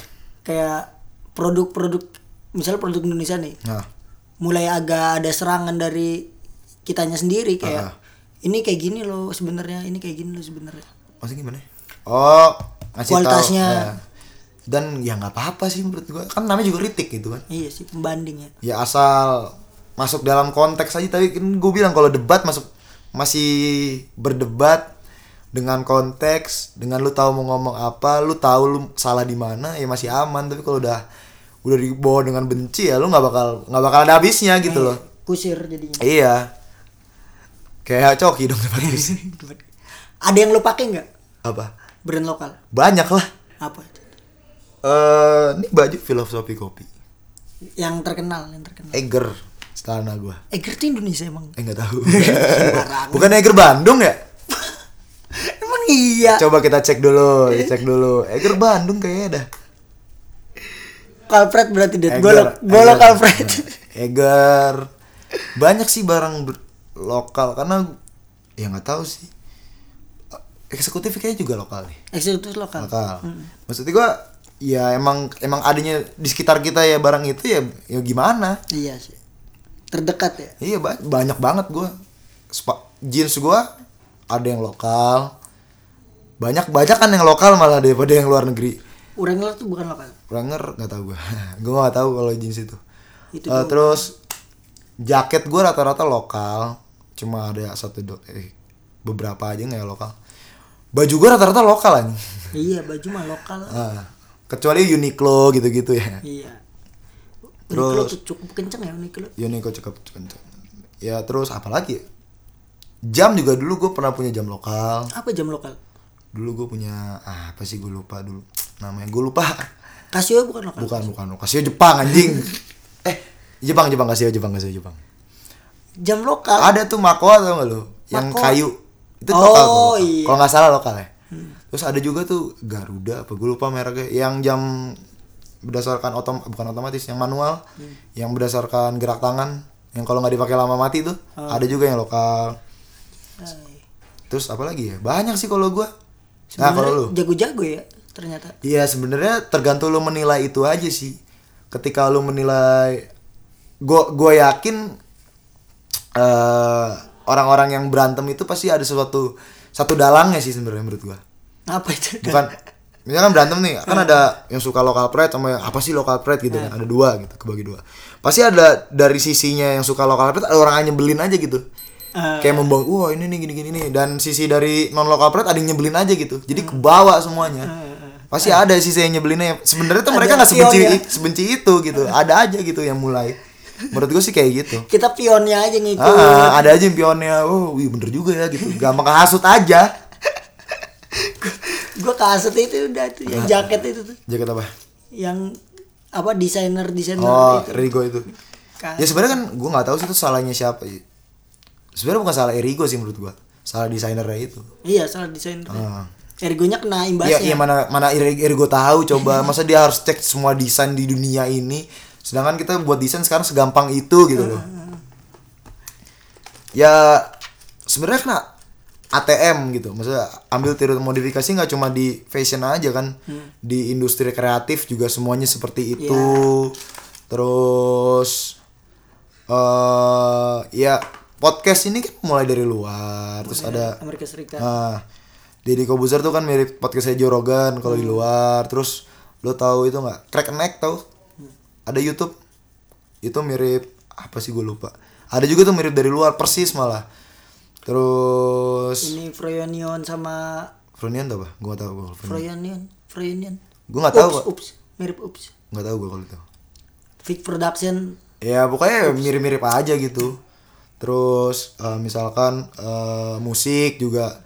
S2: Kayak produk-produk misalnya produk Indonesia nih.
S1: nah
S2: mulai agak ada serangan dari kitanya sendiri kayak ini kayak gini loh sebenarnya ini kayak gini loh sebenarnya
S1: maksudnya gimana oh ngasih tahu,
S2: Kualitasnya.
S1: ya. dan ya nggak apa-apa sih menurut gua kan namanya juga kritik gitu kan
S2: iya sih pembanding ya
S1: ya asal masuk dalam konteks aja tapi kan gue bilang kalau debat masuk masih berdebat dengan konteks dengan lu tahu mau ngomong apa lu tahu lu salah di mana ya masih aman tapi kalau udah udah dibawa dengan benci ya lu nggak bakal nggak bakal ada habisnya gitu loh
S2: kusir jadinya
S1: iya kayak coki dong tempat kursi.
S2: ada yang lo pakai nggak
S1: apa
S2: brand lokal
S1: banyak lah
S2: apa itu?
S1: eh ini baju filosofi kopi
S2: yang terkenal yang terkenal
S1: Eger celana gua
S2: Eger tuh Indonesia emang
S1: eh nggak tahu
S2: Sembarangan.
S1: bukan Eger Bandung ya
S2: emang iya
S1: Coba kita cek dulu, cek dulu. Eger Bandung kayaknya dah.
S2: Kalfred berarti deh
S1: Eger,
S2: gue lo gue lo
S1: Eger.
S2: Kalfred
S1: Eger. Banyak sih barang ber- lokal karena ya nggak tahu sih. Eksekutif kayaknya juga lokal nih.
S2: eksekutif lokal
S1: Lokal. Maksudnya gua ya emang emang adanya di sekitar kita ya barang itu ya ya gimana?
S2: iya sih terdekat ya
S1: Iya ba- banyak banget gua. Spa- jeans gua ada yang lokal. Banyak banyak kan yang lokal malah daripada yang luar negeri.
S2: Urangler tuh bukan lokal
S1: Wrangler nggak tahu gue gue nggak tahu kalau jeans itu,
S2: Itu
S1: Eh, terus jaket gue rata-rata lokal cuma ada satu do eh, beberapa aja nggak ya lokal baju gue rata-rata lokal aja
S2: iya baju mah lokal
S1: Oh. kecuali Uniqlo gitu-gitu ya
S2: Iya.
S1: Terus-
S2: Uniqlo tuh cukup kenceng ya Uniqlo.
S1: Uniqlo cukup kenceng ya terus apalagi ya? jam juga dulu gue pernah punya jam lokal
S2: Apa jam lokal?
S1: dulu gue punya ah, apa sih gue lupa dulu namanya gue lupa
S2: Casio bukan lokal.
S1: bukan bukan kasih Jepang anjing eh Jepang Jepang kasih Jepang kasih Jepang
S2: Jam lokal.
S1: ada tuh makoa tau gak lu yang
S2: Makoa.
S1: kayu itu
S2: Oh,
S1: lokal tuh, lokal.
S2: iya. Hmm.
S1: kalau nggak salah lokal ya terus ada juga tuh Garuda apa gue lupa mereknya yang jam berdasarkan otom bukan otomatis yang manual
S2: Hmm.
S1: yang berdasarkan gerak tangan yang kalau nggak dipakai lama mati tuh
S2: Oh.
S1: ada juga yang lokal
S2: Hai.
S1: terus apa lagi ya banyak sih kalau gua nah
S2: Sebenarnya
S1: kalau lu
S2: jago-jago ya ternyata.
S1: Iya sebenarnya tergantung lu menilai itu aja sih. Ketika lu menilai, gua gua yakin eh, orang-orang yang berantem itu pasti ada sesuatu satu dalangnya sih sebenarnya menurut gua.
S2: Nah, Apa itu?
S1: Bukan misalkan berantem nih kan ada yang suka lokal pride sama yang apa sih lokal pride gitu kan ada dua gitu kebagi dua. Pasti ada dari sisinya yang suka lokal pride ada orang yang nyebelin aja gitu.
S2: Eh.
S1: kayak membangun wah ini nih gini gini nih dan sisi dari non lokal pride ada yang nyebelin aja gitu jadi
S2: Hmm.
S1: kebawa semuanya pasti ada sisi yang nyebelinnya sebenarnya tuh mereka
S2: Ada
S1: nggak sebenci
S2: pion ya. Hmm.
S1: sebenci itu gitu ada aja gitu yang mulai menurut gue sih kayak gitu
S2: Kita pionnya aja ngikut.
S1: Ah, ada aja yang pionnya oh wih bener juga ya gitu gampang kehasut aja
S2: Gua kaset itu udah tuh yang jaket itu tuh.
S1: jaket apa
S2: Yang apa desainer desainer
S1: oh
S2: Nah, itu.
S1: Rigo itu
S2: Kan.
S1: ya sebenarnya kan gue nggak tahu sih itu salahnya siapa sebenarnya bukan salah Erigo sih menurut gue salah desainernya itu
S2: Iya, salah desainer.
S1: Ah.
S2: Ergonya kena
S1: Iya,
S2: imbasnya.
S1: iya mana mana Ergo tahu coba masa dia harus cek semua desain di dunia ini. Sedangkan kita buat desain sekarang segampang itu gitu loh. Ya sebenarnya kena ATM gitu. Maksudnya ambil teori modifikasi nggak cuma di fashion aja kan. Di industri kreatif juga semuanya seperti itu. Terus eh ya podcast ini kan mulai dari luar. Terus ada
S2: Amerika Serikat.
S1: Nah, Deddy Kobuzer tuh kan mirip podcastnya Joe Rogan kalau di
S2: Hmm.
S1: luar. Terus lo tahu itu nggak? Crack and Neck tahu?
S2: Hmm.
S1: Ada YouTube. Itu mirip apa sih gue lupa. Ada juga tuh mirip dari luar persis malah. Terus
S2: Ini Froyonion sama
S1: Frunian tau apa? Gue gak tau gue.
S2: Froyonion, Froyonion.
S1: Gue gak tau
S2: Ups,
S1: kok.
S2: ups, mirip ups.
S1: Gak tau gue kalau itu.
S2: Fake production
S1: Ya pokoknya mirip-mirip aja gitu. Terus eh, misalkan eh, musik juga.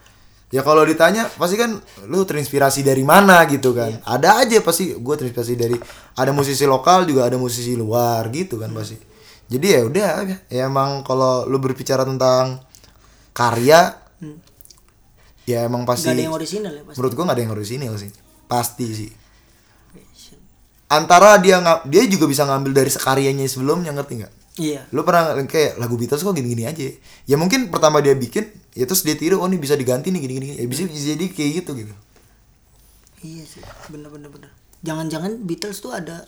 S1: Ya kalau ditanya pasti kan lu terinspirasi dari mana gitu kan.
S2: Iya.
S1: Ada aja pasti gue terinspirasi dari ada musisi lokal juga ada musisi luar gitu
S2: Iya.
S1: kan pasti. Jadi ya udah ya emang kalau lu berbicara tentang karya ya emang pasti
S2: Hmm. nggak ada yang orisinal ya pasti.
S1: menurut gua nggak ada yang orisinil sih pasti sih antara dia nggak dia juga bisa ngambil dari sekaryanya sebelumnya ngerti nggak
S2: Iya.
S1: lu pernah kayak lagu Beatles kok gini-gini aja ya? ya mungkin pertama dia bikin ya terus dia tiru oh ini bisa diganti nih gini-gini ya bisa bisa jadi kayak gitu gitu
S2: Iya sih. Bener bener bener. Jangan-jangan Beatles tuh ada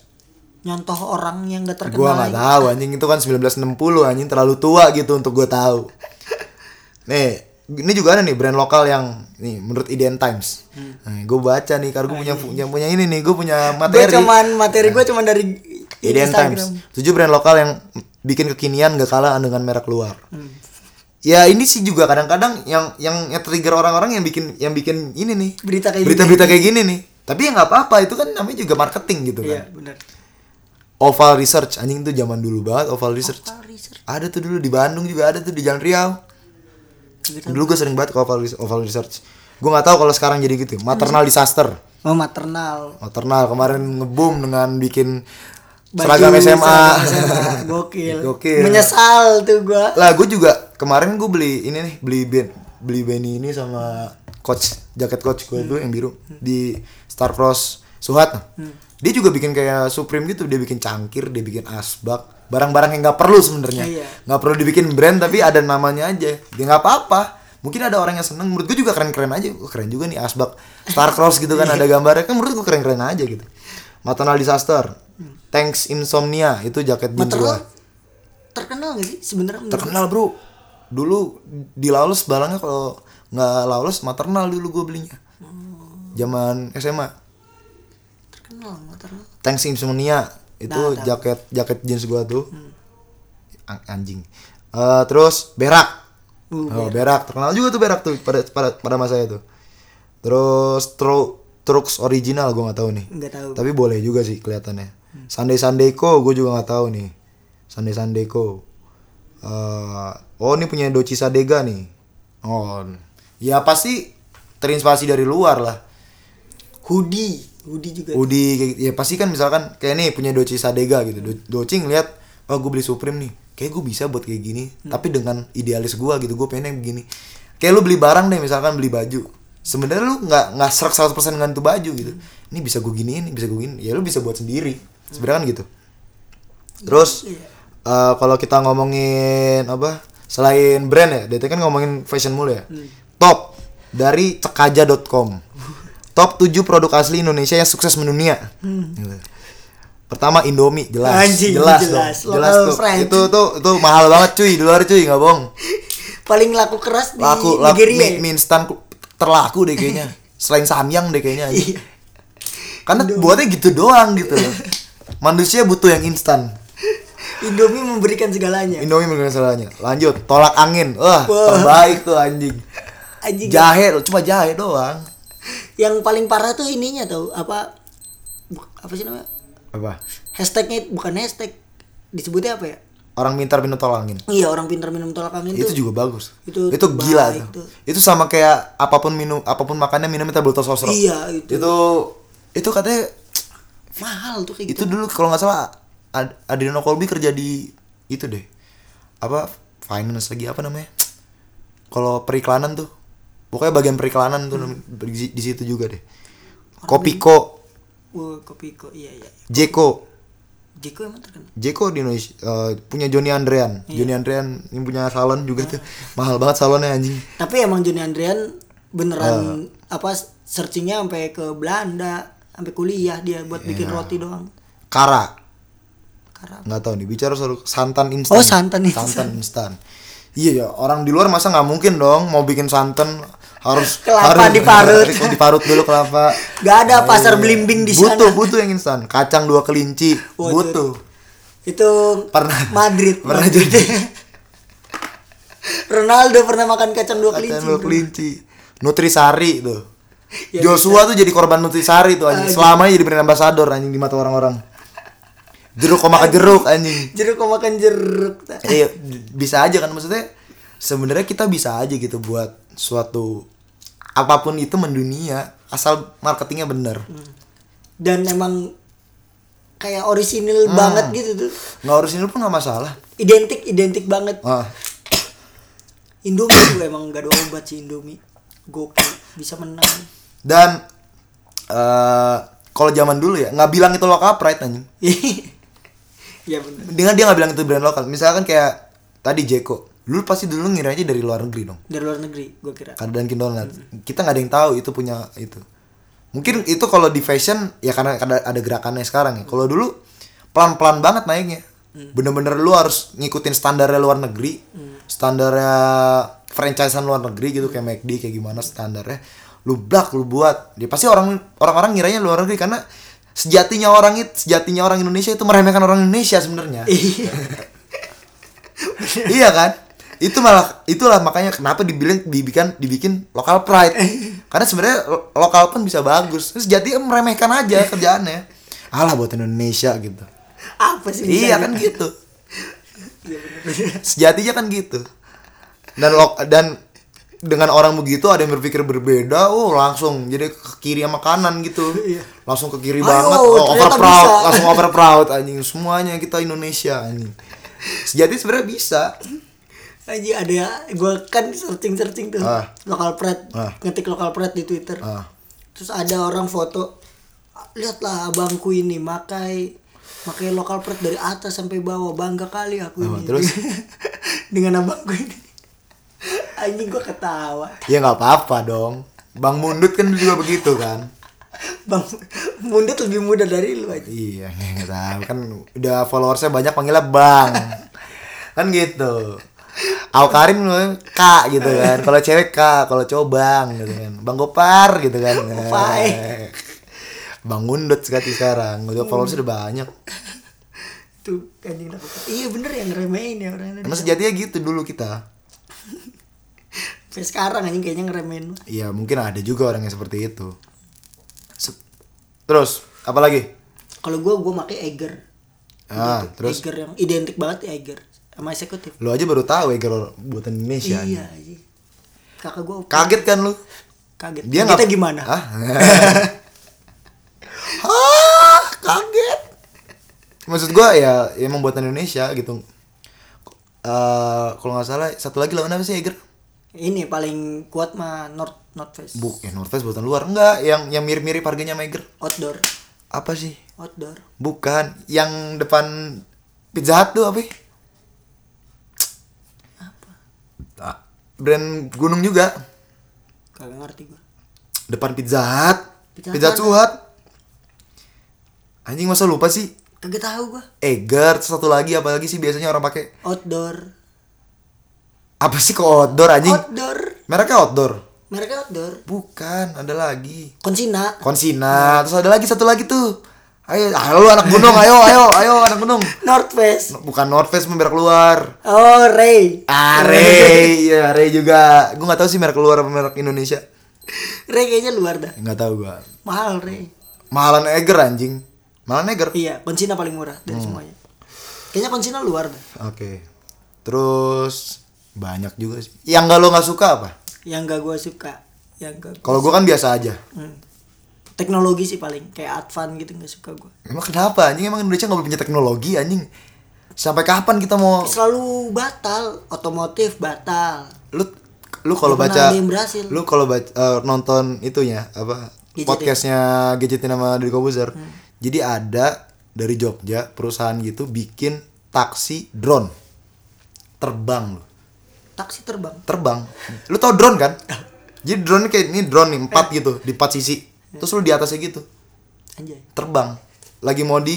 S2: nyontoh orang yang nggak terkenal.
S1: gua nggak
S2: lagi.
S1: tahu anjing itu kan 1960 anjing terlalu tua gitu untuk gua tahu nih ini juga ada nih brand lokal yang nih menurut IDN Times nah, gue baca nih karena gue punya, punya punya ini nih gue punya
S2: Gua
S1: materi
S2: cuman materi gue cuman dari
S1: IDN Times. Tujuh brand lokal yang bikin kekinian gak kalah dengan merek luar.
S2: Hmm.
S1: Ya ini sih juga kadang-kadang yang yang yang trigger orang-orang yang bikin yang bikin ini nih
S2: Berita kayak
S1: berita-berita kayak gini nih. Tapi ya nggak apa-apa itu kan namanya juga marketing gitu
S2: Iya
S1: kan.
S2: bener.
S1: Oval Research anjing tuh zaman dulu banget Oval Research.
S2: Ah, research.
S1: Ada tuh dulu di Bandung juga ada tuh di Jalan Riau.
S2: Gitu.
S1: Dulu gue sering banget ke Oval, Res- Oval Research. Gue nggak tahu kalau sekarang jadi gitu. Maternal disaster.
S2: Oh maternal.
S1: Maternal kemarin ngeboom dengan bikin
S2: Baju,
S1: seragam SMA.
S2: seragam SMA. Gokil.
S1: Gokil.
S2: Menyesal tuh gua.
S1: lah gue juga kemarin gue beli ini nih beli ben beli Benny ini sama coach jaket coach gue dulu yang biru
S2: Hmm.
S1: di Star Cross Suhat dia juga bikin kayak Supreme gitu dia bikin cangkir dia bikin asbak barang-barang yang nggak perlu sebenarnya
S2: Iya.
S1: nggak perlu dibikin brand tapi ada namanya aja dia nggak apa-apa mungkin ada orang yang seneng menurut gue juga keren-keren aja Wah, keren juga nih asbak Star Cross gitu
S2: Iya.
S1: kan ada gambarnya kan menurut gue keren-keren aja gitu Maternal Disaster Thanks Insomnia itu jaket bim
S2: Hmm.
S1: gua
S2: Maternal terkenal gak sih sebenarnya? menurut-
S1: terkenal bro dulu di Laos barangnya kalau nggak Laos maternal dulu gue belinya zaman SMA
S2: Terkenal maternal.
S1: Thanks Insomnia itu
S2: Nah, tahu.
S1: jaket jaket jeans gue tuh An- anjing Eh, terus berak
S2: Uh,
S1: oh, berak. terkenal juga tuh berak tuh pada pada pada masa itu terus Tru- Trux original gue nggak tahu nih
S2: Nggak tahu.
S1: tapi boleh juga sih kelihatannya Sunday Sunday Co gue juga nggak tahu nih Sunday Sunday Co Eh, oh ini punya Doci Sadega nih oh ya pasti terinspirasi dari luar lah
S2: Hoodie. Hoodie juga.
S1: Udi kayak gitu. ya pasti kan misalkan kayak nih punya Doci Sadega gitu Do- Doci ngeliat oh gue beli Supreme nih kayak gue bisa buat kayak gini tapi dengan idealis gue gitu gue pengen yang begini kayak lu beli barang deh misalkan beli baju sebenarnya lu nggak nggak serak 100% dengan tuh baju gitu ini bisa gue giniin ini bisa gue giniin ya lu bisa buat sendiri sebenarnya kan gitu terus
S2: Iya.
S1: eh, kalau kita ngomongin apa selain brand ya DT kan ngomongin fashion mulu ya
S2: Hmm.
S1: top dari cekaja.com top 7 produk asli Indonesia yang sukses mendunia Gitu. pertama Indomie jelas
S2: Hmm. Anjing,
S1: jelas,
S2: jelas.
S1: dong jelas
S2: Local
S1: tuh
S2: friend.
S1: itu tuh itu mahal banget cuy di luar cuy nggak bohong
S2: paling laku keras di
S1: laku laku
S2: Nigeria
S1: mie,
S2: ya?
S1: mie instan ku- terlaku deh kayaknya selain samyang deh kayaknya
S2: Iya.
S1: karena buatnya gitu doang gitu loh manusia butuh yang instan
S2: Indomie memberikan segalanya
S1: Indomie bukan salahnya lanjut tolak angin wah
S2: Wah.
S1: terbaik tuh anjing
S2: anjing
S1: jahe loh cuma jahe doang
S2: yang paling parah tuh ininya tau apa bu- apa sih namanya
S1: apa
S2: hashtagnya bukan hashtag disebutnya apa ya
S1: orang pintar minum tolak angin
S2: iya orang pintar minum tolak angin
S1: itu,
S2: tuh
S1: juga bagus
S2: itu
S1: itu, gila
S2: baik
S1: tuh.
S2: tuh.
S1: itu sama kayak apapun minum apapun makannya minumnya tabletot sosro
S2: Iya, itu.
S1: itu itu katanya
S2: mahal tuh kayak gitu
S1: itu dulu kalau nggak salah Ad Adriano Colby kerja di itu deh apa finance lagi apa namanya kalau periklanan tuh pokoknya bagian periklanan tuh nam- di, di situ juga deh Kopiko
S2: Wah, kopi kok iya iya
S1: Jeko
S2: Jiko emang terkenal
S1: Jeko di Indonesia eh, punya Johnny Andrean
S2: Iya.
S1: Johnny Andrean yang punya salon juga tuh mahal banget salonnya anjing
S2: tapi emang Johnny Andrian beneran
S1: Ah.
S2: apa searchingnya sampai ke Belanda sampai kuliah dia buat
S1: Iya.
S2: bikin roti doang
S1: Kara
S2: karena
S1: nggak tahu nih bicara soal santan instan
S2: Oh, santan instan.
S1: santan instan iya ya orang di luar masa nggak mungkin dong mau bikin santan harus
S2: Kelapa
S1: harus-
S2: diparut.
S1: diparut dulu kelapa
S2: Gak ada pasar belimbing di
S1: Iya.
S2: sana.
S1: butuh butuh yang instan kacang dua kelinci
S2: Waduh.
S1: butuh
S2: itu
S1: Pernah.
S2: Madrid
S1: Pernah
S2: Madrid.
S1: jadi.
S2: Ronaldo pernah makan kacang dua
S1: kacang
S2: kelinci
S1: dua
S2: bro.
S1: kelinci nutrisari tuh
S2: Ya,
S1: Joshua tuh jadi korban nutrisari tuh anjing
S2: Aduh.
S1: selamanya jadi brand ambassador anjing di mata orang-orang jeruk koma ke jeruk anjing
S2: jeruk kok makan jeruk tak?
S1: Iya, bisa aja kan maksudnya sebenarnya kita bisa aja gitu buat suatu apapun itu mendunia asal marketingnya bener
S2: Hmm. dan emang kayak
S1: Hmm.
S2: orisinil banget gitu tuh
S1: nggak harus ini pun nggak masalah
S2: identik identik banget
S1: ah,
S2: Indomie juga emang gak ada obat sih Indomie gokil bisa menang
S1: dan eh kalau zaman dulu ya nggak bilang itu lokal pride anjing
S2: ya bener
S1: dengan dia nggak bilang itu brand lokal misalkan kayak tadi Jeko lu pasti dulu ngiranya dari luar negeri dong
S2: dari luar negeri gue kira
S1: karena Dunkin Donat kita nggak ada yang tahu itu punya itu mungkin itu kalau di fashion ya karena ada, ada gerakannya sekarang ya kalau dulu pelan pelan banget naiknya bener-bener lu harus ngikutin standarnya luar negeri standarnya franchisean luar negeri gitu kayak McD kayak gimana standarnya lu blak lu buat dia pasti orang orang orang ngiranya luar negeri karena sejatinya orang itu sejatinya orang Indonesia itu meremehkan orang Indonesia sebenarnya iya kan itu malah itulah makanya kenapa dibilang dibikin dibikin lokal pride karena sebenarnya lo- lokal pun bisa bagus sejati meremehkan aja kerjaannya alah buat Indonesia gitu
S2: apa sih
S1: iya
S2: bisa
S1: kan
S2: gitu?
S1: gitu
S2: Iya, bener.
S1: sejatinya kan gitu dan lo- dan dengan orang begitu ada yang berpikir berbeda oh langsung jadi ke kiri sama kanan gitu langsung ke kiri
S2: Ayo,
S1: banget oh, over
S2: ternyata
S1: proud
S2: bisa.
S1: langsung over proud anjing semuanya kita Indonesia anjing sejati sebenarnya bisa
S2: Aji ada gue kan searching searching tuh
S1: Ah.
S2: lokal pret
S1: Ah.
S2: ngetik lokal pret di twitter
S1: Ah.
S2: terus ada orang foto lihatlah abangku ini makai makai lokal pret dari atas sampai bawah bangga kali aku
S1: Ah,
S2: ini
S1: terus?
S2: dengan abangku ini anjing gue ketawa
S1: Ya nggak apa-apa dong. Bang Mundut kan juga begitu kan.
S2: bang mundut lebih muda dari lu aja
S1: Iya, nggak tahu kan udah followersnya banyak panggilnya Bang. Kan gitu. Al Karim namanya Kak gitu kan. Kalau cewek Kak, kalau cowok Bang gitu kan. Bang Gopar gitu kan.
S2: Gopai.
S1: Eh, Bang Mundut sekali sekarang. Udah followersnya udah banyak.
S2: tuh anjing aku iya bener yang ngeremehin ya orang
S1: Emang
S2: Indonesia
S1: sejatinya gitu dulu kita.
S2: sampai sekarang anjing kayaknya ngeremehin
S1: Iya, mungkin ada juga orang yang seperti itu. Se- Terus, apa lagi?
S2: kalau gue gue makai Eiger
S1: Ah,
S2: Gitu.
S1: terus
S2: Eiger yang identik banget ya Eiger sama eksekutif
S1: lu aja baru tahu ya kalau buatan Indonesia. gitu.
S2: iya iya. kakak gue
S1: Kaget kan lu?
S2: kaget
S1: Dia
S2: kita
S1: nggak-
S2: gimana
S1: Hah? Hah, kaget. Maksud gua ya emang buatan Indonesia gitu. Eh kalau nggak salah satu lagi lawan apa sih Eger?
S2: ini paling kuat mah North North Face
S1: Buk, ya North Face buatan luar. Enggak, yang yang mirip-mirip harganya Mager.
S2: outdoor
S1: Apa sih?
S2: outdoor
S1: Bukan, yang depan Pizza Hut tuh apa? ya? Ah, Brand gunung juga.
S2: kagak ngerti gua
S1: Depan Pizza Hut.
S2: Pizza
S1: Pizza
S2: Hut.
S1: Hut. Anjing masa lupa sih?
S2: kagak tahu gua
S1: Eger satu lagi apalagi sih biasanya orang pakai
S2: outdoor
S1: apa sih kok outdoor anjing?
S2: outdoor
S1: Mereknya outdoor.
S2: mereka outdoor
S1: Bukan, ada lagi.
S2: konsina
S1: Konsina, terus ada lagi satu lagi tuh. Ayo, halo anak gunung, ayo, ayo, ayo anak gunung.
S2: North Face
S1: Bukan North Face merek luar.
S2: oh Ray
S1: Ah,
S2: Oh,
S1: Are, ya Are juga. Gue nggak tahu sih merek luar apa merek Indonesia.
S2: Ray kayaknya luar dah
S1: Nggak tahu gua.
S2: mahal Ray
S1: Mahalan Eger anjing. Mahalan Eger. Oke.
S2: iya konsina paling murah
S1: Hmm.
S2: dari semuanya kayaknya konsina luar dah
S1: Terus banyak juga sih. Yang nggak lo nggak suka apa?
S2: yang gak gua suka yang gak
S1: Kalau gua kan biasa aja.
S2: Hmm. teknologi sih paling kayak Advan gitu nggak suka gua
S1: Emang kenapa anjing? Emang Indonesia nggak punya teknologi anjing? Sampai kapan kita mau?
S2: selalu batal otomotif batal
S1: Lu lu kalau
S2: Nggak pernah
S1: baca
S2: ada yang berhasil.
S1: lu kalau baca eh, nonton itunya apa
S2: Gadgetin. Hmm.
S1: podcastnya gadgetin sama Deddy Kobuzer jadi ada dari Jogja perusahaan gitu bikin taksi drone terbang lu
S2: taksi terbang
S1: terbang lu tau drone kan jadi drone kayak ini drone nih empat gitu di empat sisi terus lu di atasnya gitu
S2: anjay
S1: terbang lagi mau di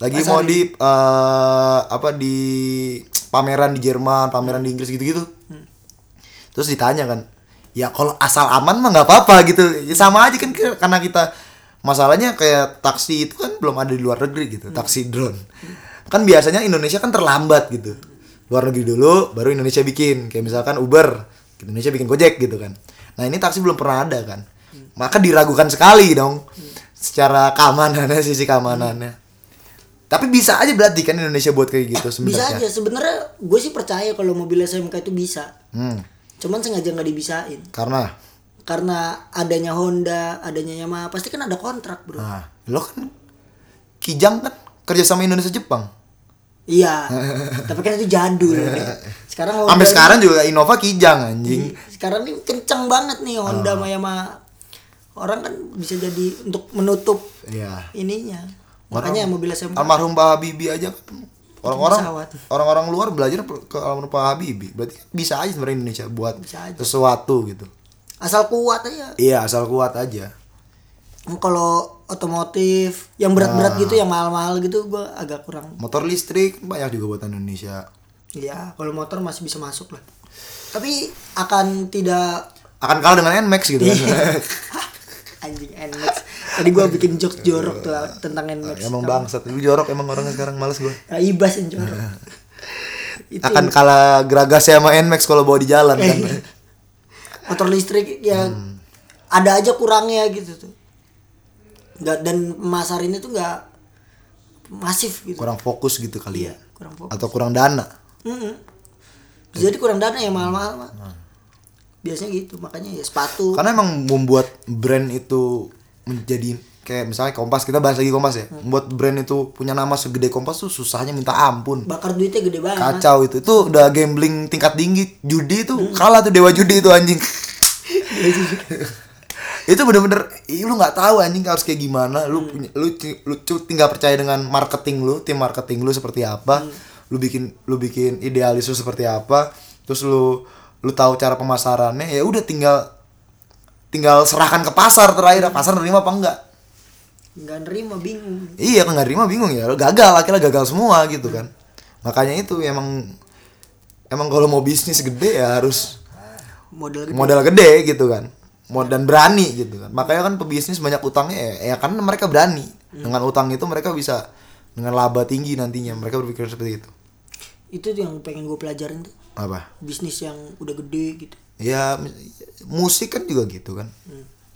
S1: lagi mau
S2: Pasarin.
S1: di eh, apa di pameran di Jerman pameran di Inggris gitu-gitu
S2: Hmm.
S1: terus ditanya kan ya kalau asal aman mah nggak apa-apa gitu Ya sama aja kan ke- karena kita masalahnya kayak taksi itu kan belum ada di luar negeri
S2: Hmm.
S1: gitu taksi drone kan biasanya Indonesia kan terlambat gitu luar negeri dulu baru Indonesia bikin kayak misalkan Uber Indonesia bikin Gojek gitu kan nah ini taksi belum pernah ada kan
S2: Hmm.
S1: maka diragukan sekali dong secara keamanannya sisi keamanannya tapi bisa aja berarti kan Indonesia buat kayak gitu
S2: Hmm. bisa
S1: sebenarnya
S2: aja sebenarnya gue sih percaya kalau mobil SMK itu bisa
S1: Hmm,
S2: cuman sengaja nggak dibisain
S1: karena
S2: karena adanya Honda adanya Yamaha pasti kan ada kontrak bro
S1: Nah, lo kan Kijang kan kerja sama Indonesia Jepang.
S2: iya tapi kan itu jadul sekarang Honda
S1: Sampai sekarang juga Innova Kijang anjing.
S2: sekarang ini kenceng banget nih
S1: Ah.
S2: Honda sama Yamaha orang kan bisa jadi untuk menutup
S1: Iya.
S2: ininya makanya mobil SMK
S1: Almarhum Pak Habibie aja kan orang-orang
S2: pesawat.
S1: orang-orang luar belajar ke almarhum Pak Habibie. Berarti kan bisa aja sebenarnya Indonesia buat
S2: Bisa aja.
S1: sesuatu gitu.
S2: asal kuat aja
S1: Iya, asal kuat aja.
S2: kalau otomotif yang berat-berat gitu yang mahal-mahal gitu gue agak kurang
S1: Motor listrik banyak juga buatan Indonesia.
S2: ya kalau motor masih bisa masuk lah tapi akan tidak
S1: Akan kalah dengan Nmax gitu kan.
S2: Iya. anjing Nmax tadi gue bikin jokes jorok tuh lah tentang Nmax
S1: emang bangsat lu jorok emang orangnya sekarang males gua.
S2: Ya, ibas yang jorok itu ya, iya.
S1: Akan kalah geragasnya sama Nmax kalau bawa di jalan kan.
S2: motor listrik ya ada aja kurangnya gitu tuh nggak dan pasar ini tuh nggak masif gitu
S1: kurang fokus gitu kali ya.
S2: kurang fokus.
S1: Atau kurang dana.
S2: Mm-mm. Jadi kurang dana ya mahal-mahal Pak. Biasanya gitu, makanya ya sepatu.
S1: karena emang membuat brand itu menjadi kayak misalnya Kompas kita bahas lagi Kompas ya membuat brand itu punya nama segede Kompas tuh susahnya minta ampun
S2: bakar duitnya gede banget.
S1: kacau itu itu udah gambling tingkat tinggi judi itu kalah tuh dewa judi itu anjing itu bener-bener ih, lu nggak tahu anjing harus kayak gimana lu punya lu ti- lu cu- tinggal percaya dengan marketing lu tim marketing lu seperti apa lu bikin lu bikin idealis lu seperti apa terus lu lu tahu cara pemasarannya ya udah tinggal tinggal serahkan ke pasar terakhir pasar nerima apa enggak
S2: Nggak nerima bingung.
S1: Iya kan nggak terima bingung ya gagal akhirnya gagal semua gitu kan makanya itu emang emang kalau mau bisnis gede ya harus
S2: Modal gede.
S1: modal gede gitu kan Mod- dan berani gitu kan makanya kan pebisnis banyak utangnya ya, ya karena mereka berani dengan utang itu mereka bisa dengan laba tinggi nantinya mereka berpikir seperti itu
S2: Itu tuh yang pengen gue pelajarin tuh.
S1: apa
S2: Bisnis yang udah gede gitu.
S1: ya m- musik kan juga gitu kan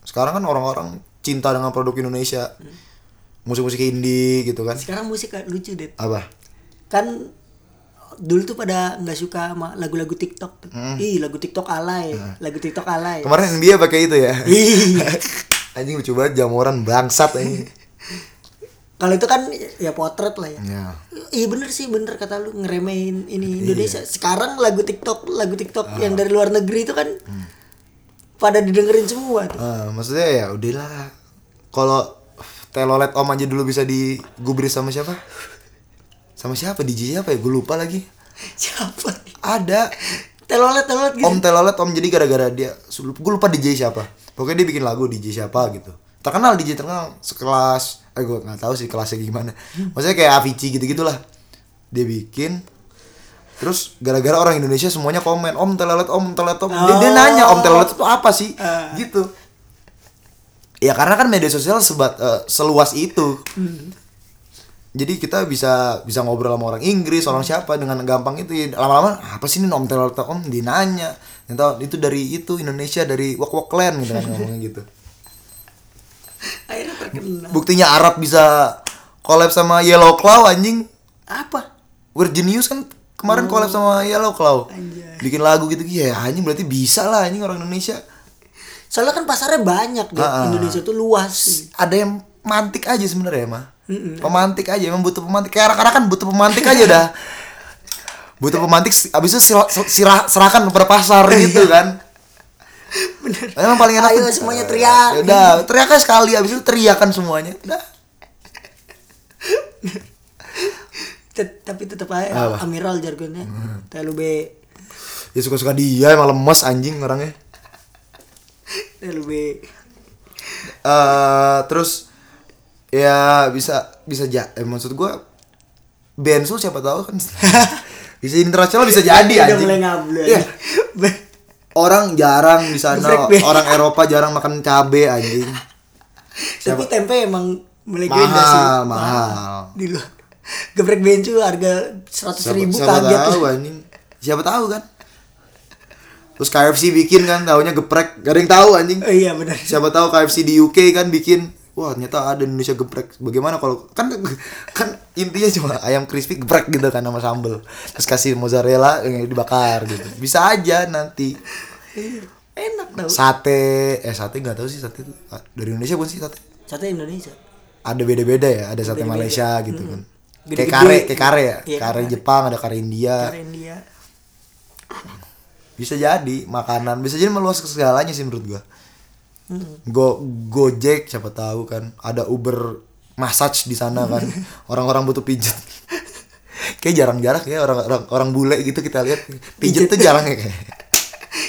S1: sekarang kan orang-orang cinta dengan produk Indonesia musik-musik indie gitu kan
S2: Sekarang musik kan lucu deh.
S1: apa
S2: Kan dulu tuh pada nggak suka sama lagu-lagu TikTok. tuh. Ih, lagu TikTok alay. Lagu TikTok alay.
S1: kemarin NBA
S2: Iya,
S1: pakai itu ya
S2: Ih.
S1: anjing lucu banget jamoran bangsat anjing
S2: Kalau itu kan ya potret lah ya.
S1: Ya.
S2: Iya bener sih bener kata lu
S1: Iya.
S2: ngeremehin ini Indonesia. Sekarang lagu TikTok lagu TikTok
S1: Ah.
S2: yang dari luar negeri itu kan
S1: Hmm.
S2: pada didengerin semua tuh.
S1: Eh, maksudnya ya udahlah. Kalau telolet om aja dulu bisa digubris sama siapa? Sama siapa? DJ apa ya? Gue lupa lagi.
S2: Siapa? nih?
S1: Ada
S2: Telolet telolet gitu.
S1: Om telolet om jadi gara-gara dia gue lupa DJ siapa. Pokoknya dia bikin lagu DJ siapa gitu. Terkenal DJ terkenal sekelas eh gue nggak tahu sih kelasnya gimana. Maksudnya kayak Avicii gitu-gitulah. Dia bikin Terus gara-gara orang Indonesia semuanya komen Om telolet, om telolet, om dia, dia nanya om telolet itu apa sih? Gitu Ya karena kan media sosial sebat, eh, seluas itu jadi kita bisa bisa ngobrol sama orang Inggris orang siapa dengan gampang itu Ya, lama-lama apa sih ini om teror om dinanya Ternyata itu dari itu Indonesia dari wak wak clan gitu kan ngomongnya gitu
S2: Akhirnya terkenal.
S1: buktinya Arab bisa collab sama Yellow Claw anjing
S2: Apa?
S1: We're Genius kan kemarin collab sama Yellow Claw
S2: Anjay.
S1: bikin lagu gitu ya anjing berarti bisa lah anjing orang Indonesia
S2: Soalnya kan pasarnya banyak deh.
S1: Ah, ah.
S2: Indonesia tuh luas.
S1: ada yang mantik aja sebenarnya mah pemantik aja emang butuh pemantik kayak anak-anak kan butuh pemantik aja dah butuh pemantik si- abis itu sila- sel- sirah- serahkan kepada pasar gitu kan Nah,
S2: Bener.
S1: emang paling enak
S2: Ayo
S1: tuh-
S2: semuanya
S1: Ya
S2: teriak.
S1: udah teriaknya sekali abis itu teriakan semuanya udah
S2: Tet- tapi tetap aja
S1: Apa? Hmm.
S2: Amiral jargonnya. TLB
S1: ya suka-suka dia emang lemes anjing orangnya
S2: TLB
S1: eh terus ya bisa bisa ja eh, maksud gua Bensu siapa tahu kan bisa internasional bisa jadi
S2: Udah
S1: anjing
S2: mulai ngablu.
S1: Iya.
S2: Be-
S1: orang jarang di sana
S2: Break, break.
S1: orang Eropa jarang makan cabe anjing
S2: Tapi tempe emang melegenda sih.
S1: mahal mahal
S2: Di luar. Geprek bencu harga seratus
S1: siapa,
S2: ribu
S1: siapa
S2: kaget.
S1: tahu anjing siapa tahu kan terus KFC bikin kan tahunya geprek gak ada yang tahu anjing
S2: Oh, iya benar.
S1: siapa tahu KFC di UK kan bikin wah ternyata ada Indonesia geprek bagaimana kalau kan kan intinya cuma ayam crispy geprek gitu kan sama sambel terus kasih mozzarella yang dibakar gitu bisa aja nanti
S2: Enak tau.
S1: sate eh sate nggak tahu sih sate itu dari Indonesia bukan sih sate
S2: Sate Indonesia.
S1: ada beda-beda ya ada sate Malaysia gitu kan kayak
S2: Gede-gede.
S1: kare kayak kare ya
S2: Iya,
S1: kare
S2: kare.
S1: Jepang ada kare India
S2: Keren dia.
S1: bisa jadi makanan bisa jadi meluas ke segalanya sih menurut gua Go Gojek siapa tahu kan ada Uber massage di sana kan orang-orang butuh pijet kayak jarang-jarang ya orang orang orang bule gitu kita lihat pijet tuh jarang ya kayak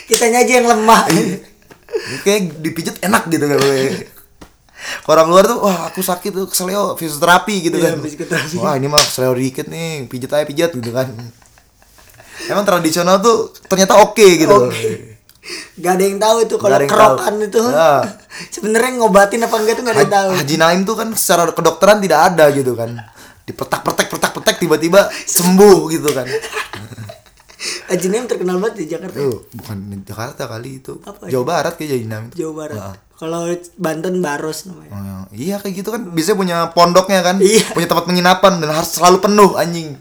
S2: Kitanya aja yang lemah.
S1: kayak dipijet enak gitu kan kayak. orang luar tuh wah aku sakit tuh keselio fisioterapi gitu
S2: Iya,
S1: kan
S2: fisioterapi.
S1: wah ini mah keselio dikit nih pijet aja pijet gitu kan emang tradisional tuh ternyata oke gitu
S2: Oke. Gak ada yang tahu itu
S1: Gak
S2: kalau
S1: ada yang
S2: kerokan
S1: tahu.
S2: itu.
S1: Ya.
S2: Sebenarnya ngobatin apa enggak tuh gak ada yang
S1: Ha-
S2: tahu.
S1: Haji Naim tuh kan secara kedokteran tidak ada gitu kan dipetak petek petak petek tiba-tiba sembuh gitu kan
S2: Haji Naim terkenal banget di Jakarta.
S1: tuh bukan di Jakarta kali itu
S2: Apa ya?
S1: Jawa Barat kayak Haji Naim tuh.
S2: Jawa Barat. Kalau Banten Baros namanya.
S1: Oh, iya kayak gitu kan biasanya punya pondoknya kan
S2: Iya.
S1: punya tempat penginapan dan harus selalu penuh anjing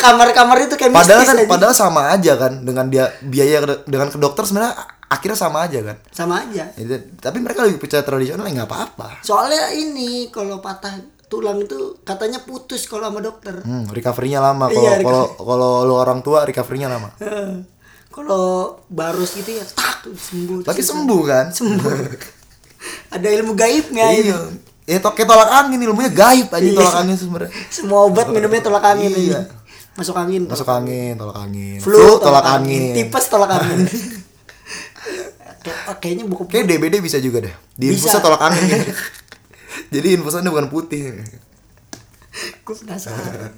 S2: Kamar-kamar itu kayak
S1: padahal
S2: mistis
S1: kan
S2: aja.
S1: padahal sama aja kan dengan dia biaya ke- dengan ke dokter sebenarnya a- akhirnya sama aja kan
S2: Sama aja.
S1: Itu- tapi mereka lebih percaya tradisional ya nggak apa-apa
S2: Soalnya ini kalau patah tulang itu katanya putus kalau sama dokter.
S1: hmm, recovery-nya lama kalau
S2: Iya,
S1: kalau kalau lu orang tua recovery-nya lama
S2: Heeh. kalau Baros gitu ya tak sembuh.
S1: tapi sembuh kan
S2: sembuh. ada ilmu gaibnya
S1: iya
S2: ini.
S1: ya to kayak tolak angin ilmunya gaib aja
S2: Iya.
S1: tolak angin tuh sebenarnya
S2: Semua obat minumnya tolak angin
S1: Iya.
S2: ini. Masuk angin.
S1: masuk
S2: tolak
S1: angin tolak angin
S2: Flu, tolak angin. Tipes tolak angin. Kayak- ah, Kayaknya buku
S1: Kayak DBD bisa juga deh. Di
S2: Bisa.
S1: infusnya tolak angin. ya. Jadi infusannya bukan putih.
S2: gue penasaran.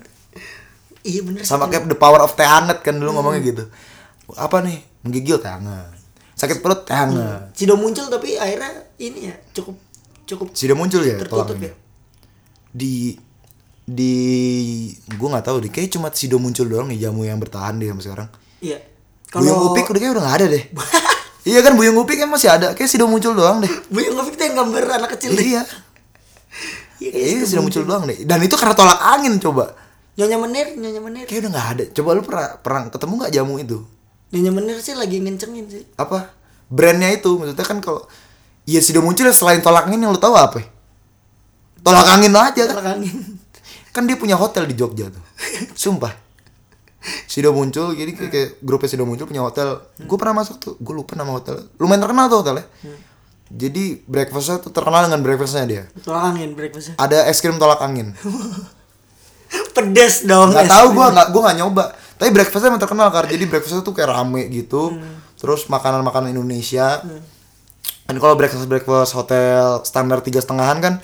S2: Iya bener
S1: Sama
S2: sih.
S1: kayak the power of teh hangat kan dulu ngomongnya gitu. Apa nih? Menggigil teh hangat. Sakit perut teh hangat.
S2: Sido muncul tapi akhirnya ini ya cukup cukup
S1: Sudah muncul ya tolak
S2: tertutup
S1: anginnya?
S2: ya.
S1: Di di gua nggak tahu deh kayak cuma sido muncul doang nih jamu yang bertahan deh sampai sekarang.
S2: Iya.
S1: Buyung
S2: Kalau
S1: Upik udah kayak udah gak ada deh. iya kan Buyung Upik kan masih ada. Kayak Sido muncul doang deh.
S2: Buyung Upik tuh yang gambar anak kecil deh.
S1: iya.
S2: Iya, guys,
S1: Iya
S2: itu
S1: Sido muncul doang deh. Dan itu karena tolak angin coba.
S2: Nyonya Menir, Nyonya Menir.
S1: Kayak udah nggak ada. Coba lu pernah pernah ketemu nggak jamu itu?
S2: Nyonya Menir sih lagi ngencengin sih.
S1: Apa? ya Brandnya itu maksudnya kan kalau Iya Sido muncul ya selain tolak angin yang lu tahu apa? ya? Tolak angin aja kan.
S2: Tolak angin.
S1: Kan dia punya hotel di Jogja tuh. Sumpah. Sido muncul jadi kayak, kayak grupnya Sido muncul punya hotel. Gue pernah masuk tuh. Gue lupa nama hotel. Lumayan terkenal tuh hotelnya. Jadi breakfastnya tuh terkenal dengan breakfastnya dia.
S2: Tolak angin breakfastnya.
S1: Ada es krim tolak angin.
S2: Pedes dong.
S1: nggak
S2: es
S1: tahu
S2: krim.
S1: gue nggak gue nggak nyoba tapi breakfastnya emang terkenal kan jadi breakfastnya tuh kayak rame gitu terus makanan makanan Indonesia kan kalau breakfast breakfast hotel standar tiga setengahan kan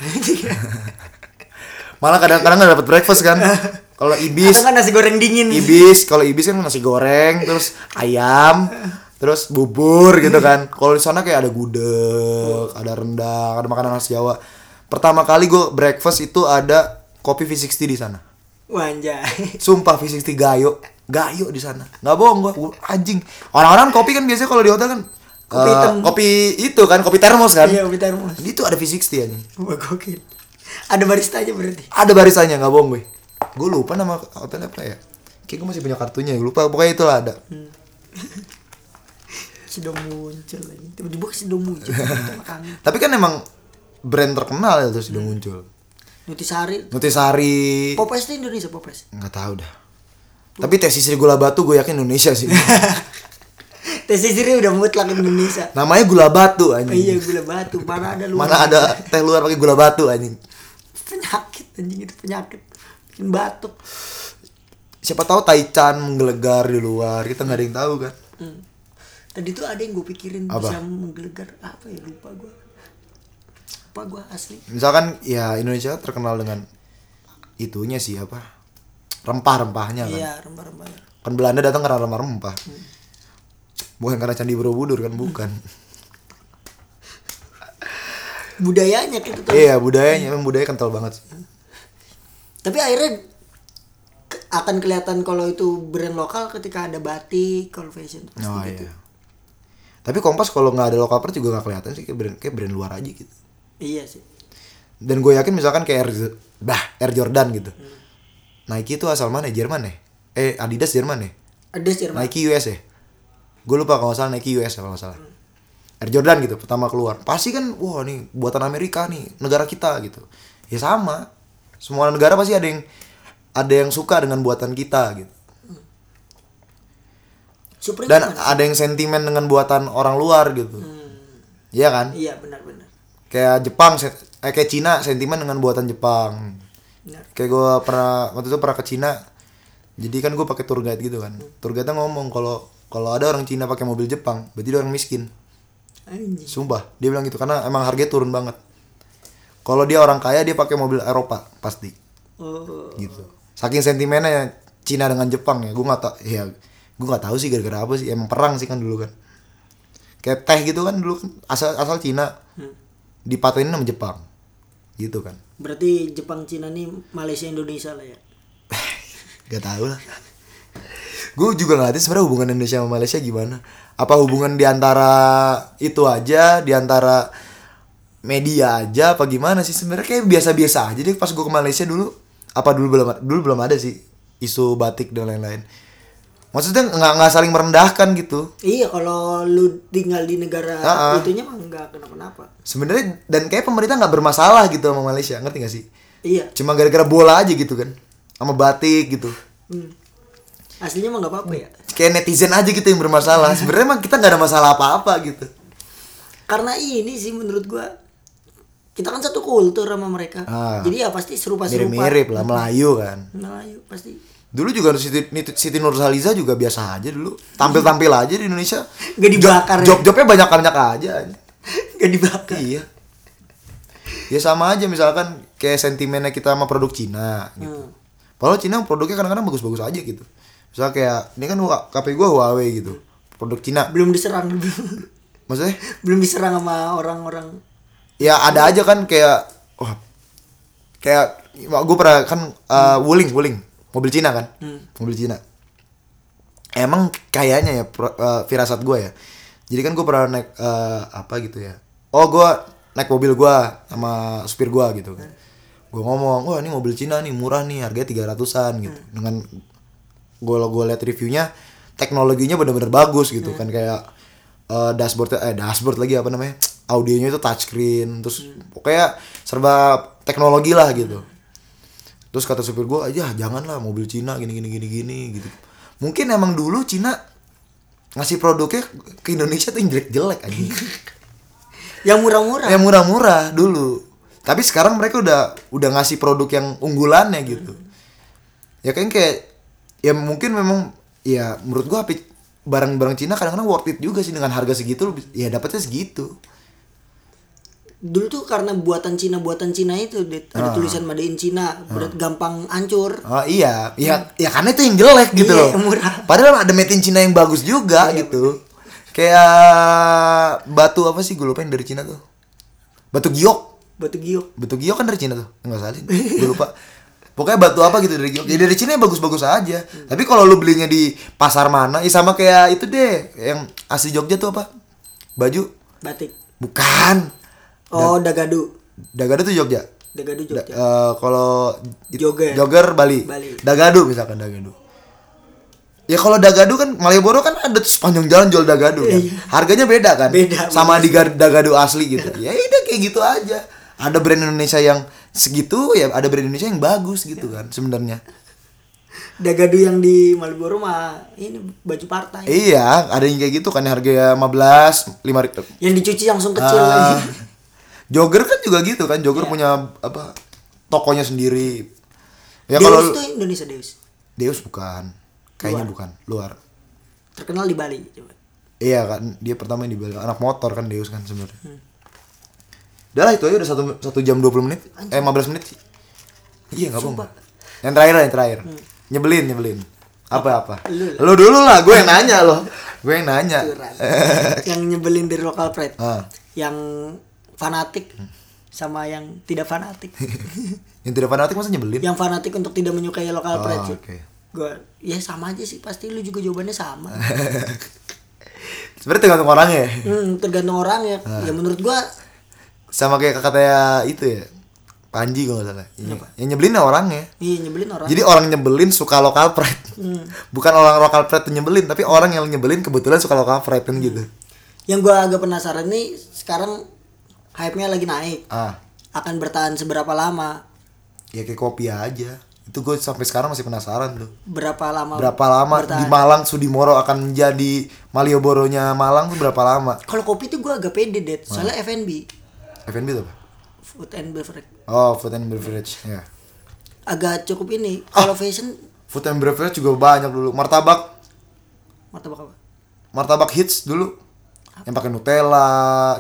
S1: malah kadang-kadang nggak dapat breakfast kan kalau ibis
S2: Atau kan nasi goreng dingin.
S1: ibis kalau ibis kan nasi goreng terus ayam terus bubur gitu kan kalau di sana kayak ada gudeg ada rendang ada makanan khas Jawa pertama kali gue breakfast itu ada kopi V60 di sana
S2: Wanjay.
S1: Sumpah V60 gayo, gayo di sana. Nggak bohong gua, Gua, anjing. Orang-orang kopi kan biasanya kalau di hotel kan
S2: Kopi
S1: eh,
S2: hitam.
S1: kopi itu kan, kopi termos kan.
S2: Iya, kopi termos.
S1: Di itu ada V60 anjing.
S2: Wah gokil. Ada baristanya berarti.
S1: Ada barisannya, nggak bohong gue. Gue lupa nama hotel apa ya. Kayak gue masih punya kartunya, ya, lupa. Pokoknya itulah ada.
S2: Hmm. Sudah muncul ini. Tiba-tiba sudah muncul. Tolak angin.
S1: Tapi kan emang brand terkenal ya terus udah
S2: Hmm.
S1: muncul.
S2: Nutisari.
S1: Iya. Nutisari.
S2: Popes itu Indonesia Popes.
S1: Nggak tahu dah. Tapi tesis sisir gula batu gue yakin Indonesia sih.
S2: Teh sisirnya udah mutlak Indonesia.
S1: Namanya gula batu
S2: Oh iya
S1: anjing.
S2: gula batu. Mana ada lu?
S1: Mana ada teh luar pakai gula batu anjing.
S2: penyakit anjing itu penyakit bikin batuk.
S1: siapa tahu Taichan menggelegar di luar kita nggak ada yang tahu kan
S2: Hmm. Tadi tuh ada yang gue pikirin
S1: Apa?
S2: bisa menggelegar apa ya lupa gue. Lupa gue asli.
S1: misalkan ya Indonesia terkenal dengan itunya sih apa rempah-rempahnya kan
S2: Iya Hmm. rempah-rempahnya.
S1: kan Belanda datang karena rempah-rempah bukan karena candi Borobudur kan bukan
S2: Budayanya gitu tuh.
S1: iya budayanya memang budaya kental banget sih.
S2: Tapi akhirnya ke- akan kelihatan kalau itu brand lokal ketika ada batik, kalau fashion. Pasti
S1: oh
S2: gitu.
S1: iya tapi Kompas kalau nggak ada lokal press juga nggak kelihatan sih kayak brand kayak brand luar aja gitu
S2: Iya sih.
S1: dan gue yakin misalkan kayak Air, Z- bah Air Jordan gitu
S2: Hmm.
S1: Nike itu asal mana Jerman ya eh Adidas Jerman ya
S2: Ada sih Jerman.
S1: Nike US ya gue lupa kalau nggak salah Nike US ya kalau nggak salah Air Jordan gitu pertama keluar pasti kan wah nih buatan Amerika nih negara kita gitu ya sama semua negara pasti ada yang ada yang suka dengan buatan kita gitu
S2: Supreme
S1: dan
S2: gimana?
S1: ada yang sentimen dengan buatan orang luar gitu
S2: Hmm.
S1: Iya kan
S2: Iya benar-benar.
S1: kayak Jepang sen- eh, kayak Cina sentimen dengan buatan Jepang
S2: Benar.
S1: kayak gue pernah waktu itu pernah ke Cina jadi kan gue pakai tour guide gitu kan tour guide ngomong kalau kalau ada orang Cina pakai mobil Jepang berarti dia orang miskin
S2: Anjing.
S1: sumpah dia bilang gitu karena emang harganya turun banget kalau dia orang kaya dia pakai mobil Eropa pasti
S2: Oh.
S1: gitu saking sentimennya ya Cina dengan Jepang ya gue nggak tau ya gue nggak tahu sih gara-gara apa sih emang perang sih kan dulu kan kayak teh gitu kan dulu kan asal asal Cina dipatenin sama Jepang gitu kan
S2: Berarti Jepang Cina nih Malaysia Indonesia lah ya.
S1: Gak tau lah Gue juga gak ngerti sebenarnya hubungan Indonesia sama Malaysia gimana Apa hubungan diantara itu aja Diantara media aja apa gimana sih sebenarnya kayak biasa-biasa aja deh pas gue ke Malaysia dulu apa dulu belum dulu belum ada sih isu batik dan lain-lain maksudnya nggak nggak saling merendahkan gitu
S2: Iya kalau lu tinggal di negara
S1: Ah, ah.
S2: itunya mah nggak kenapa-napa.
S1: sebenarnya dan kayak pemerintah nggak bermasalah gitu sama Malaysia ngerti gak sih
S2: Iya.
S1: cuma gara-gara bola aja gitu kan sama batik gitu
S2: Hmm. Aslinya mah nggak apa-apa ya.
S1: kayak netizen aja gitu yang bermasalah sebenarnya emang kita nggak ada masalah apa-apa gitu
S2: Karena ini sih menurut gua kita kan satu kultur sama mereka.
S1: Ah.
S2: Jadi ya pasti serupa-serupa.
S1: mirip-mirip lah Melayu kan
S2: Melayu Nah, pasti.
S1: dulu juga Siti, Nit- Siti Nurhaliza juga biasa aja dulu tampil-tampil aja di Indonesia
S2: Nggak dibakar ya.
S1: job-jobnya banyak-banyak aja
S2: Gak dibakar.
S1: iya ya sama aja misalkan kayak sentimennya kita sama produk Cina
S2: Hmm.
S1: gitu padahal Cina produknya kadang-kadang bagus-bagus aja gitu misalnya kayak ini kan Hua- KP gua Huawei gitu produk Cina
S2: Belum diserang
S1: maksudnya
S2: belum diserang sama orang-orang
S1: ya ada aja kan kayak wah kayak gue pernah kan uh, wuling wuling mobil Cina kan mobil Cina emang kayaknya ya pro- uh, firasat gue ya jadi kan gue pernah naik uh, apa gitu ya oh gue naik mobil gue sama supir gue gitu kan gue ngomong wah ini mobil Cina nih murah nih harganya 300an gitu dengan gue gue liat reviewnya teknologinya bener-bener bagus gitu kan kayak eh, dashboard eh dashboard lagi apa namanya audionya itu touchscreen terus pokoknya serba teknologi lah gitu terus kata supir gue aja janganlah mobil Cina gini gini gini gini gitu mungkin emang dulu Cina ngasih produknya ke Indonesia tuh yang jelek-jelek anjing
S2: yang murah-murah
S1: yang Ya, murah-murah dulu tapi sekarang mereka udah udah ngasih produk yang unggulannya gitu ya kan kayak ya mungkin memang ya menurut gua HP barang-barang Cina kadang-kadang worth it juga sih dengan harga segitu ya dapatnya segitu
S2: dulu tuh karena buatan Cina buatan Cina itu Dit.
S1: Ah.
S2: ada tulisan made in Cina berat gampang hancur
S1: oh iya ya ya karena itu yang jelek gitu
S2: Iya,
S1: loh
S2: yang murah. Iya,
S1: padahal ada made in Cina yang bagus juga gitu kayak batu apa sih gue lupa yang dari Cina tuh batu giok
S2: batu giok
S1: Batu giok kan dari Cina tuh. Enggak salah. Gue lupa. Pokoknya batu apa gitu dari giok. Ya dari Cina ya bagus-bagus aja. Tapi kalau lu belinya di pasar mana, ya sama kayak itu deh yang asli Jogja tuh apa? Baju
S2: batik
S1: bukan.
S2: oh dagadu
S1: Dagadu tuh Jogja.
S2: dagadu
S1: Da-
S2: Jogja
S1: eh, kalau it-
S2: Jogger.
S1: jogger Bali.
S2: Bali.
S1: Dagadu misalkan Dagadu. Ya kalau Dagadu kan Malioboro kan ada tuh sepanjang jalan jual Dagadu kan. Harganya beda kan?
S2: Iya. Beda,
S1: Sama di gar- Dagadu asli gitu. ya udah kayak gitu aja. Ada brand Indonesia yang segitu ya ada brand Indonesia yang bagus gitu kan sebenarnya.
S2: dagadu yang di Malioboro mah ini baju partai
S1: Iya, ada yang kayak gitu kan harganya 15 5 ribu.
S2: yang dicuci langsung kecil
S1: Ah, jogger kan juga gitu kan. Jogger
S2: Iya.
S1: punya apa tokonya sendiri. Ya
S2: Deus
S1: kalau
S2: tuh Indonesia Deus
S1: Deus bukan. Kayaknya bukan. Luar.
S2: terkenal di Bali coba
S1: Iya kan, dia pertama yang dibilang anak motor kan Deus kan sebenarnya. Udah lah itu aja udah satu, satu jam 20 menit. Eh 15 menit sih. Iya nggak bohong. Yang terakhir lah, yang terakhir. Nyebelin, nyebelin. Apa apa?
S2: Lu
S1: Hmm. Lu dulu lah, gue yang nanya loh. Gue yang nanya.
S2: Curhat. yang nyebelin dari lokal pride
S1: Ah.
S2: yang fanatik sama yang tidak fanatik
S1: yang tidak fanatik masa nyebelin?
S2: yang fanatik untuk tidak menyukai lokal
S1: Oh,
S2: pride sih
S1: oke.
S2: gue ya sama aja sih pasti lu juga jawabannya sama
S1: Sebenarnya tergantung orangnya ya.
S2: hmm, tergantung orang ya
S1: Ah.
S2: ya menurut gue
S1: Sama kayak katanya itu ya. Panji kalau nggak salah. Iya. Yang nyebelin orangnya.
S2: iya nyebelin orang
S1: Jadi orang nyebelin suka lokal pride. Bukan orang lokal pride tuh nyebelin, tapi orang yang nyebelin kebetulan suka lokal pride kan gitu.
S2: yang gue agak penasaran nih sekarang hype nya lagi naik
S1: Ah,
S2: akan bertahan seberapa lama
S1: ya kayak kopi aja. Itu gue sampai sekarang masih penasaran tuh.
S2: berapa lama
S1: Berapa lama di Malang Sudimoro akan menjadi Malioboro-nya Malang tuh berapa lama?
S2: kalau kopi tuh gue agak pede
S1: Ah.
S2: deh soalnya F&B
S1: F&B tuh apa?
S2: food and beverage
S1: Oh, food and beverage. Ya.
S2: agak cukup ini
S1: Ah.
S2: kalau fashion
S1: Food and beverage juga banyak dulu. Martabak,
S2: martabak apa
S1: martabak hits dulu. Yang pakai Nutella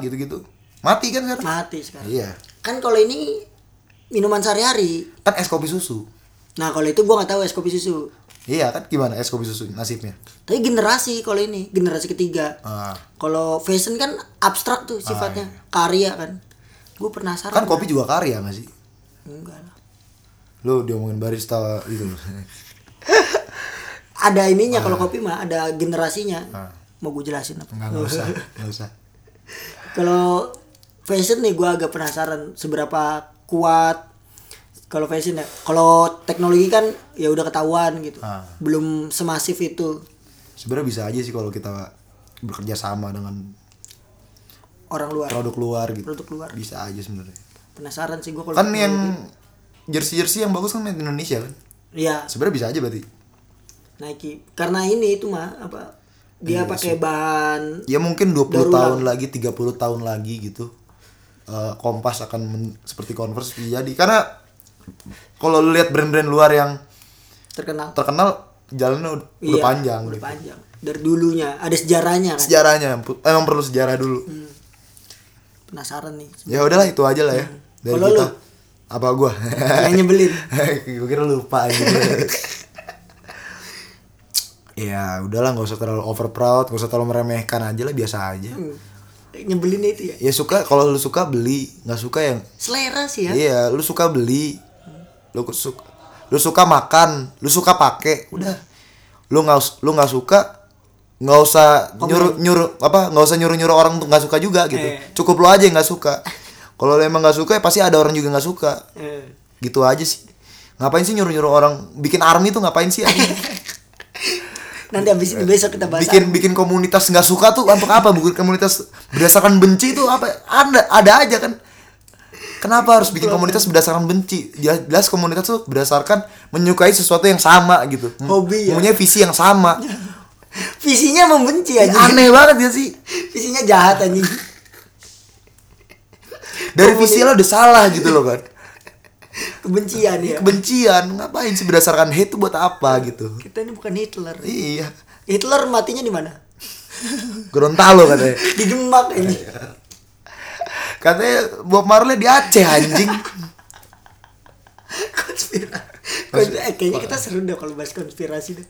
S1: gitu-gitu. Mati kan sekarang?
S2: mati sekarang
S1: Iya.
S2: kan kalau ini minuman sehari-hari
S1: Kan es kopi susu.
S2: nah kalau itu gua nggak tahu es kopi susu
S1: Iya kan gimana es kopi susu nasibnya?
S2: tapi generasi kalau ini generasi ketiga
S1: Ah.
S2: kalau fashion kan abstrak tuh sifatnya karya kan gue penasaran
S1: iya. kan kopi juga karya nggak sih
S2: enggak lah
S1: lu diomongin barista gitu
S2: ada
S1: Ah.
S2: ininya kalau kopi mah ada generasinya mau gue jelasin apa
S1: nggak nggak usah nggak usah
S2: kalau fashion nih gua agak penasaran seberapa kuat kalau fashion ya kalau teknologi kan ya udah ketahuan gitu
S1: Ah.
S2: belum semasif itu
S1: sebenarnya bisa aja sih kalau kita bekerja sama dengan
S2: orang luar
S1: produk luar gitu
S2: Produk luar.
S1: bisa aja sebenarnya
S2: penasaran sih gue kalau gitu.
S1: kan yang jersey jersey yang bagus kan made in Indonesia kan
S2: Iya,
S1: sebenarnya bisa aja berarti
S2: Nike. Karena ini itu mah apa dia
S1: Iya
S2: pakai bahan
S1: ya mungkin 20
S2: Daur ulang.
S1: tahun lagi 30 tahun lagi gitu eh, kompas akan men- seperti converse bisa jadi karena kalau lu lihat brand-brand luar yang
S2: terkenal
S1: terkenal jalannya udah, udah
S2: Iya,
S1: panjang
S2: udah
S1: gitu.
S2: panjang. Dari dulunya ada sejarahnya kan.
S1: sejarahnya emang perlu sejarah dulu
S2: Penasaran nih.
S1: ya udahlah itu aja lah ya dari
S2: Hmm. Kalau
S1: kita
S2: lu?
S1: apa gua
S2: Yang nyebelin.
S1: gue kira lupa aja ya udahlah nggak usah terlalu over proud nggak usah terlalu meremehkan aja lah biasa aja
S2: Hmm. Nyebelin itu ya.
S1: ya suka kalau lu suka beli nggak suka yang
S2: Selera sih ya.
S1: iya lu suka beli lu suka lu suka makan lu suka pakai udah lu nggak us- lu nggak suka nggak usah nyuruh nyuruh apa nggak usah nyuruh nyuruh orang untuk nggak suka juga gitu
S2: Eh.
S1: cukup lu aja yang nggak suka kalau lu emang nggak suka ya pasti ada orang juga nggak suka
S2: Eh.
S1: gitu aja sih ngapain sih nyuruh nyuruh orang bikin army tuh ngapain sih anjing?
S2: Nanti habis ini besok kita bahas.
S1: Eh, bikin bikin komunitas nggak suka tuh untuk apa bukan komunitas berdasarkan benci itu apa ada ada aja kan Kenapa harus bikin komunitas berdasarkan benci? Jelas, jelas komunitas tuh berdasarkan menyukai sesuatu yang sama gitu. M-
S2: Hobi, ya?
S1: Punya visi yang sama.
S2: Visinya membenci
S1: Ih,
S2: aja.
S1: Aneh banget ya sih.
S2: Visinya jahat anjing.
S1: Dari
S2: Komunitas-
S1: visi lo udah salah gitu loh kan.
S2: Kebencian ya.
S1: Iya, Kebencian, ngapain sih berdasarkan hate tuh buat apa gitu.
S2: Kita ini bukan Hitler.
S1: Iya.
S2: Hitler matinya di mana?
S1: Gorontalo katanya.
S2: Di Demak ini.
S1: Katanya Bob Marley di Aceh anjing.
S2: Konspirasi. Konspirasi. Eh, kayaknya kita seru deh kalau bahas konspirasi deh.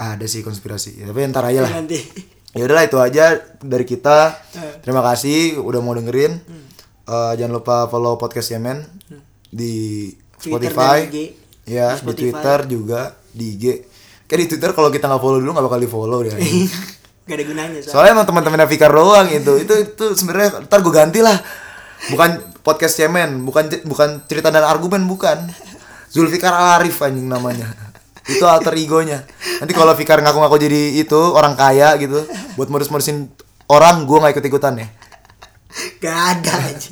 S1: Ada sih konspirasi. Ya, tapi ntar aja lah.
S2: Nanti.
S1: ya udahlah itu aja dari kita
S2: Eh.
S1: terima kasih udah mau dengerin
S2: Hmm.
S1: Eh, jangan lupa follow podcast Yemen di
S2: Twitter
S1: Spotify
S2: dan IG.
S1: ya di
S2: Hmm. Di Spotify.
S1: Twitter juga di IG kayak di Twitter kalau kita nggak follow dulu nggak bakal di follow deh
S2: Gak ada gunanya soalnya.
S1: soalnya emang teman-teman Fikar doang itu itu itu sebenarnya ntar gue ganti lah bukan podcast Yemen bukan bukan cerita dan argumen bukan Zulfikar Al Arif anjing namanya itu alter egonya nanti kalau Fikar ngaku-ngaku jadi itu orang kaya gitu buat modus-modusin orang gue nggak ikut ikutan ya
S2: Gak ada aja.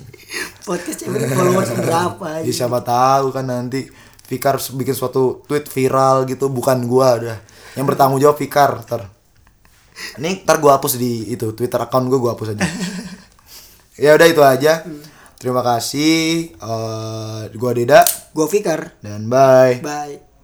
S2: Podcastnya punya followers berapa
S1: ya
S2: aja.
S1: siapa tahu kan nanti Fikar bikin suatu tweet viral gitu bukan gue udah yang bertanggung jawab Fikar ntar ini ntar gue hapus di itu Twitter account gue gue hapus aja ya udah itu aja terima kasih Eh, gua gue Deda
S2: Gua Fikar.
S1: dan bye
S2: Bye.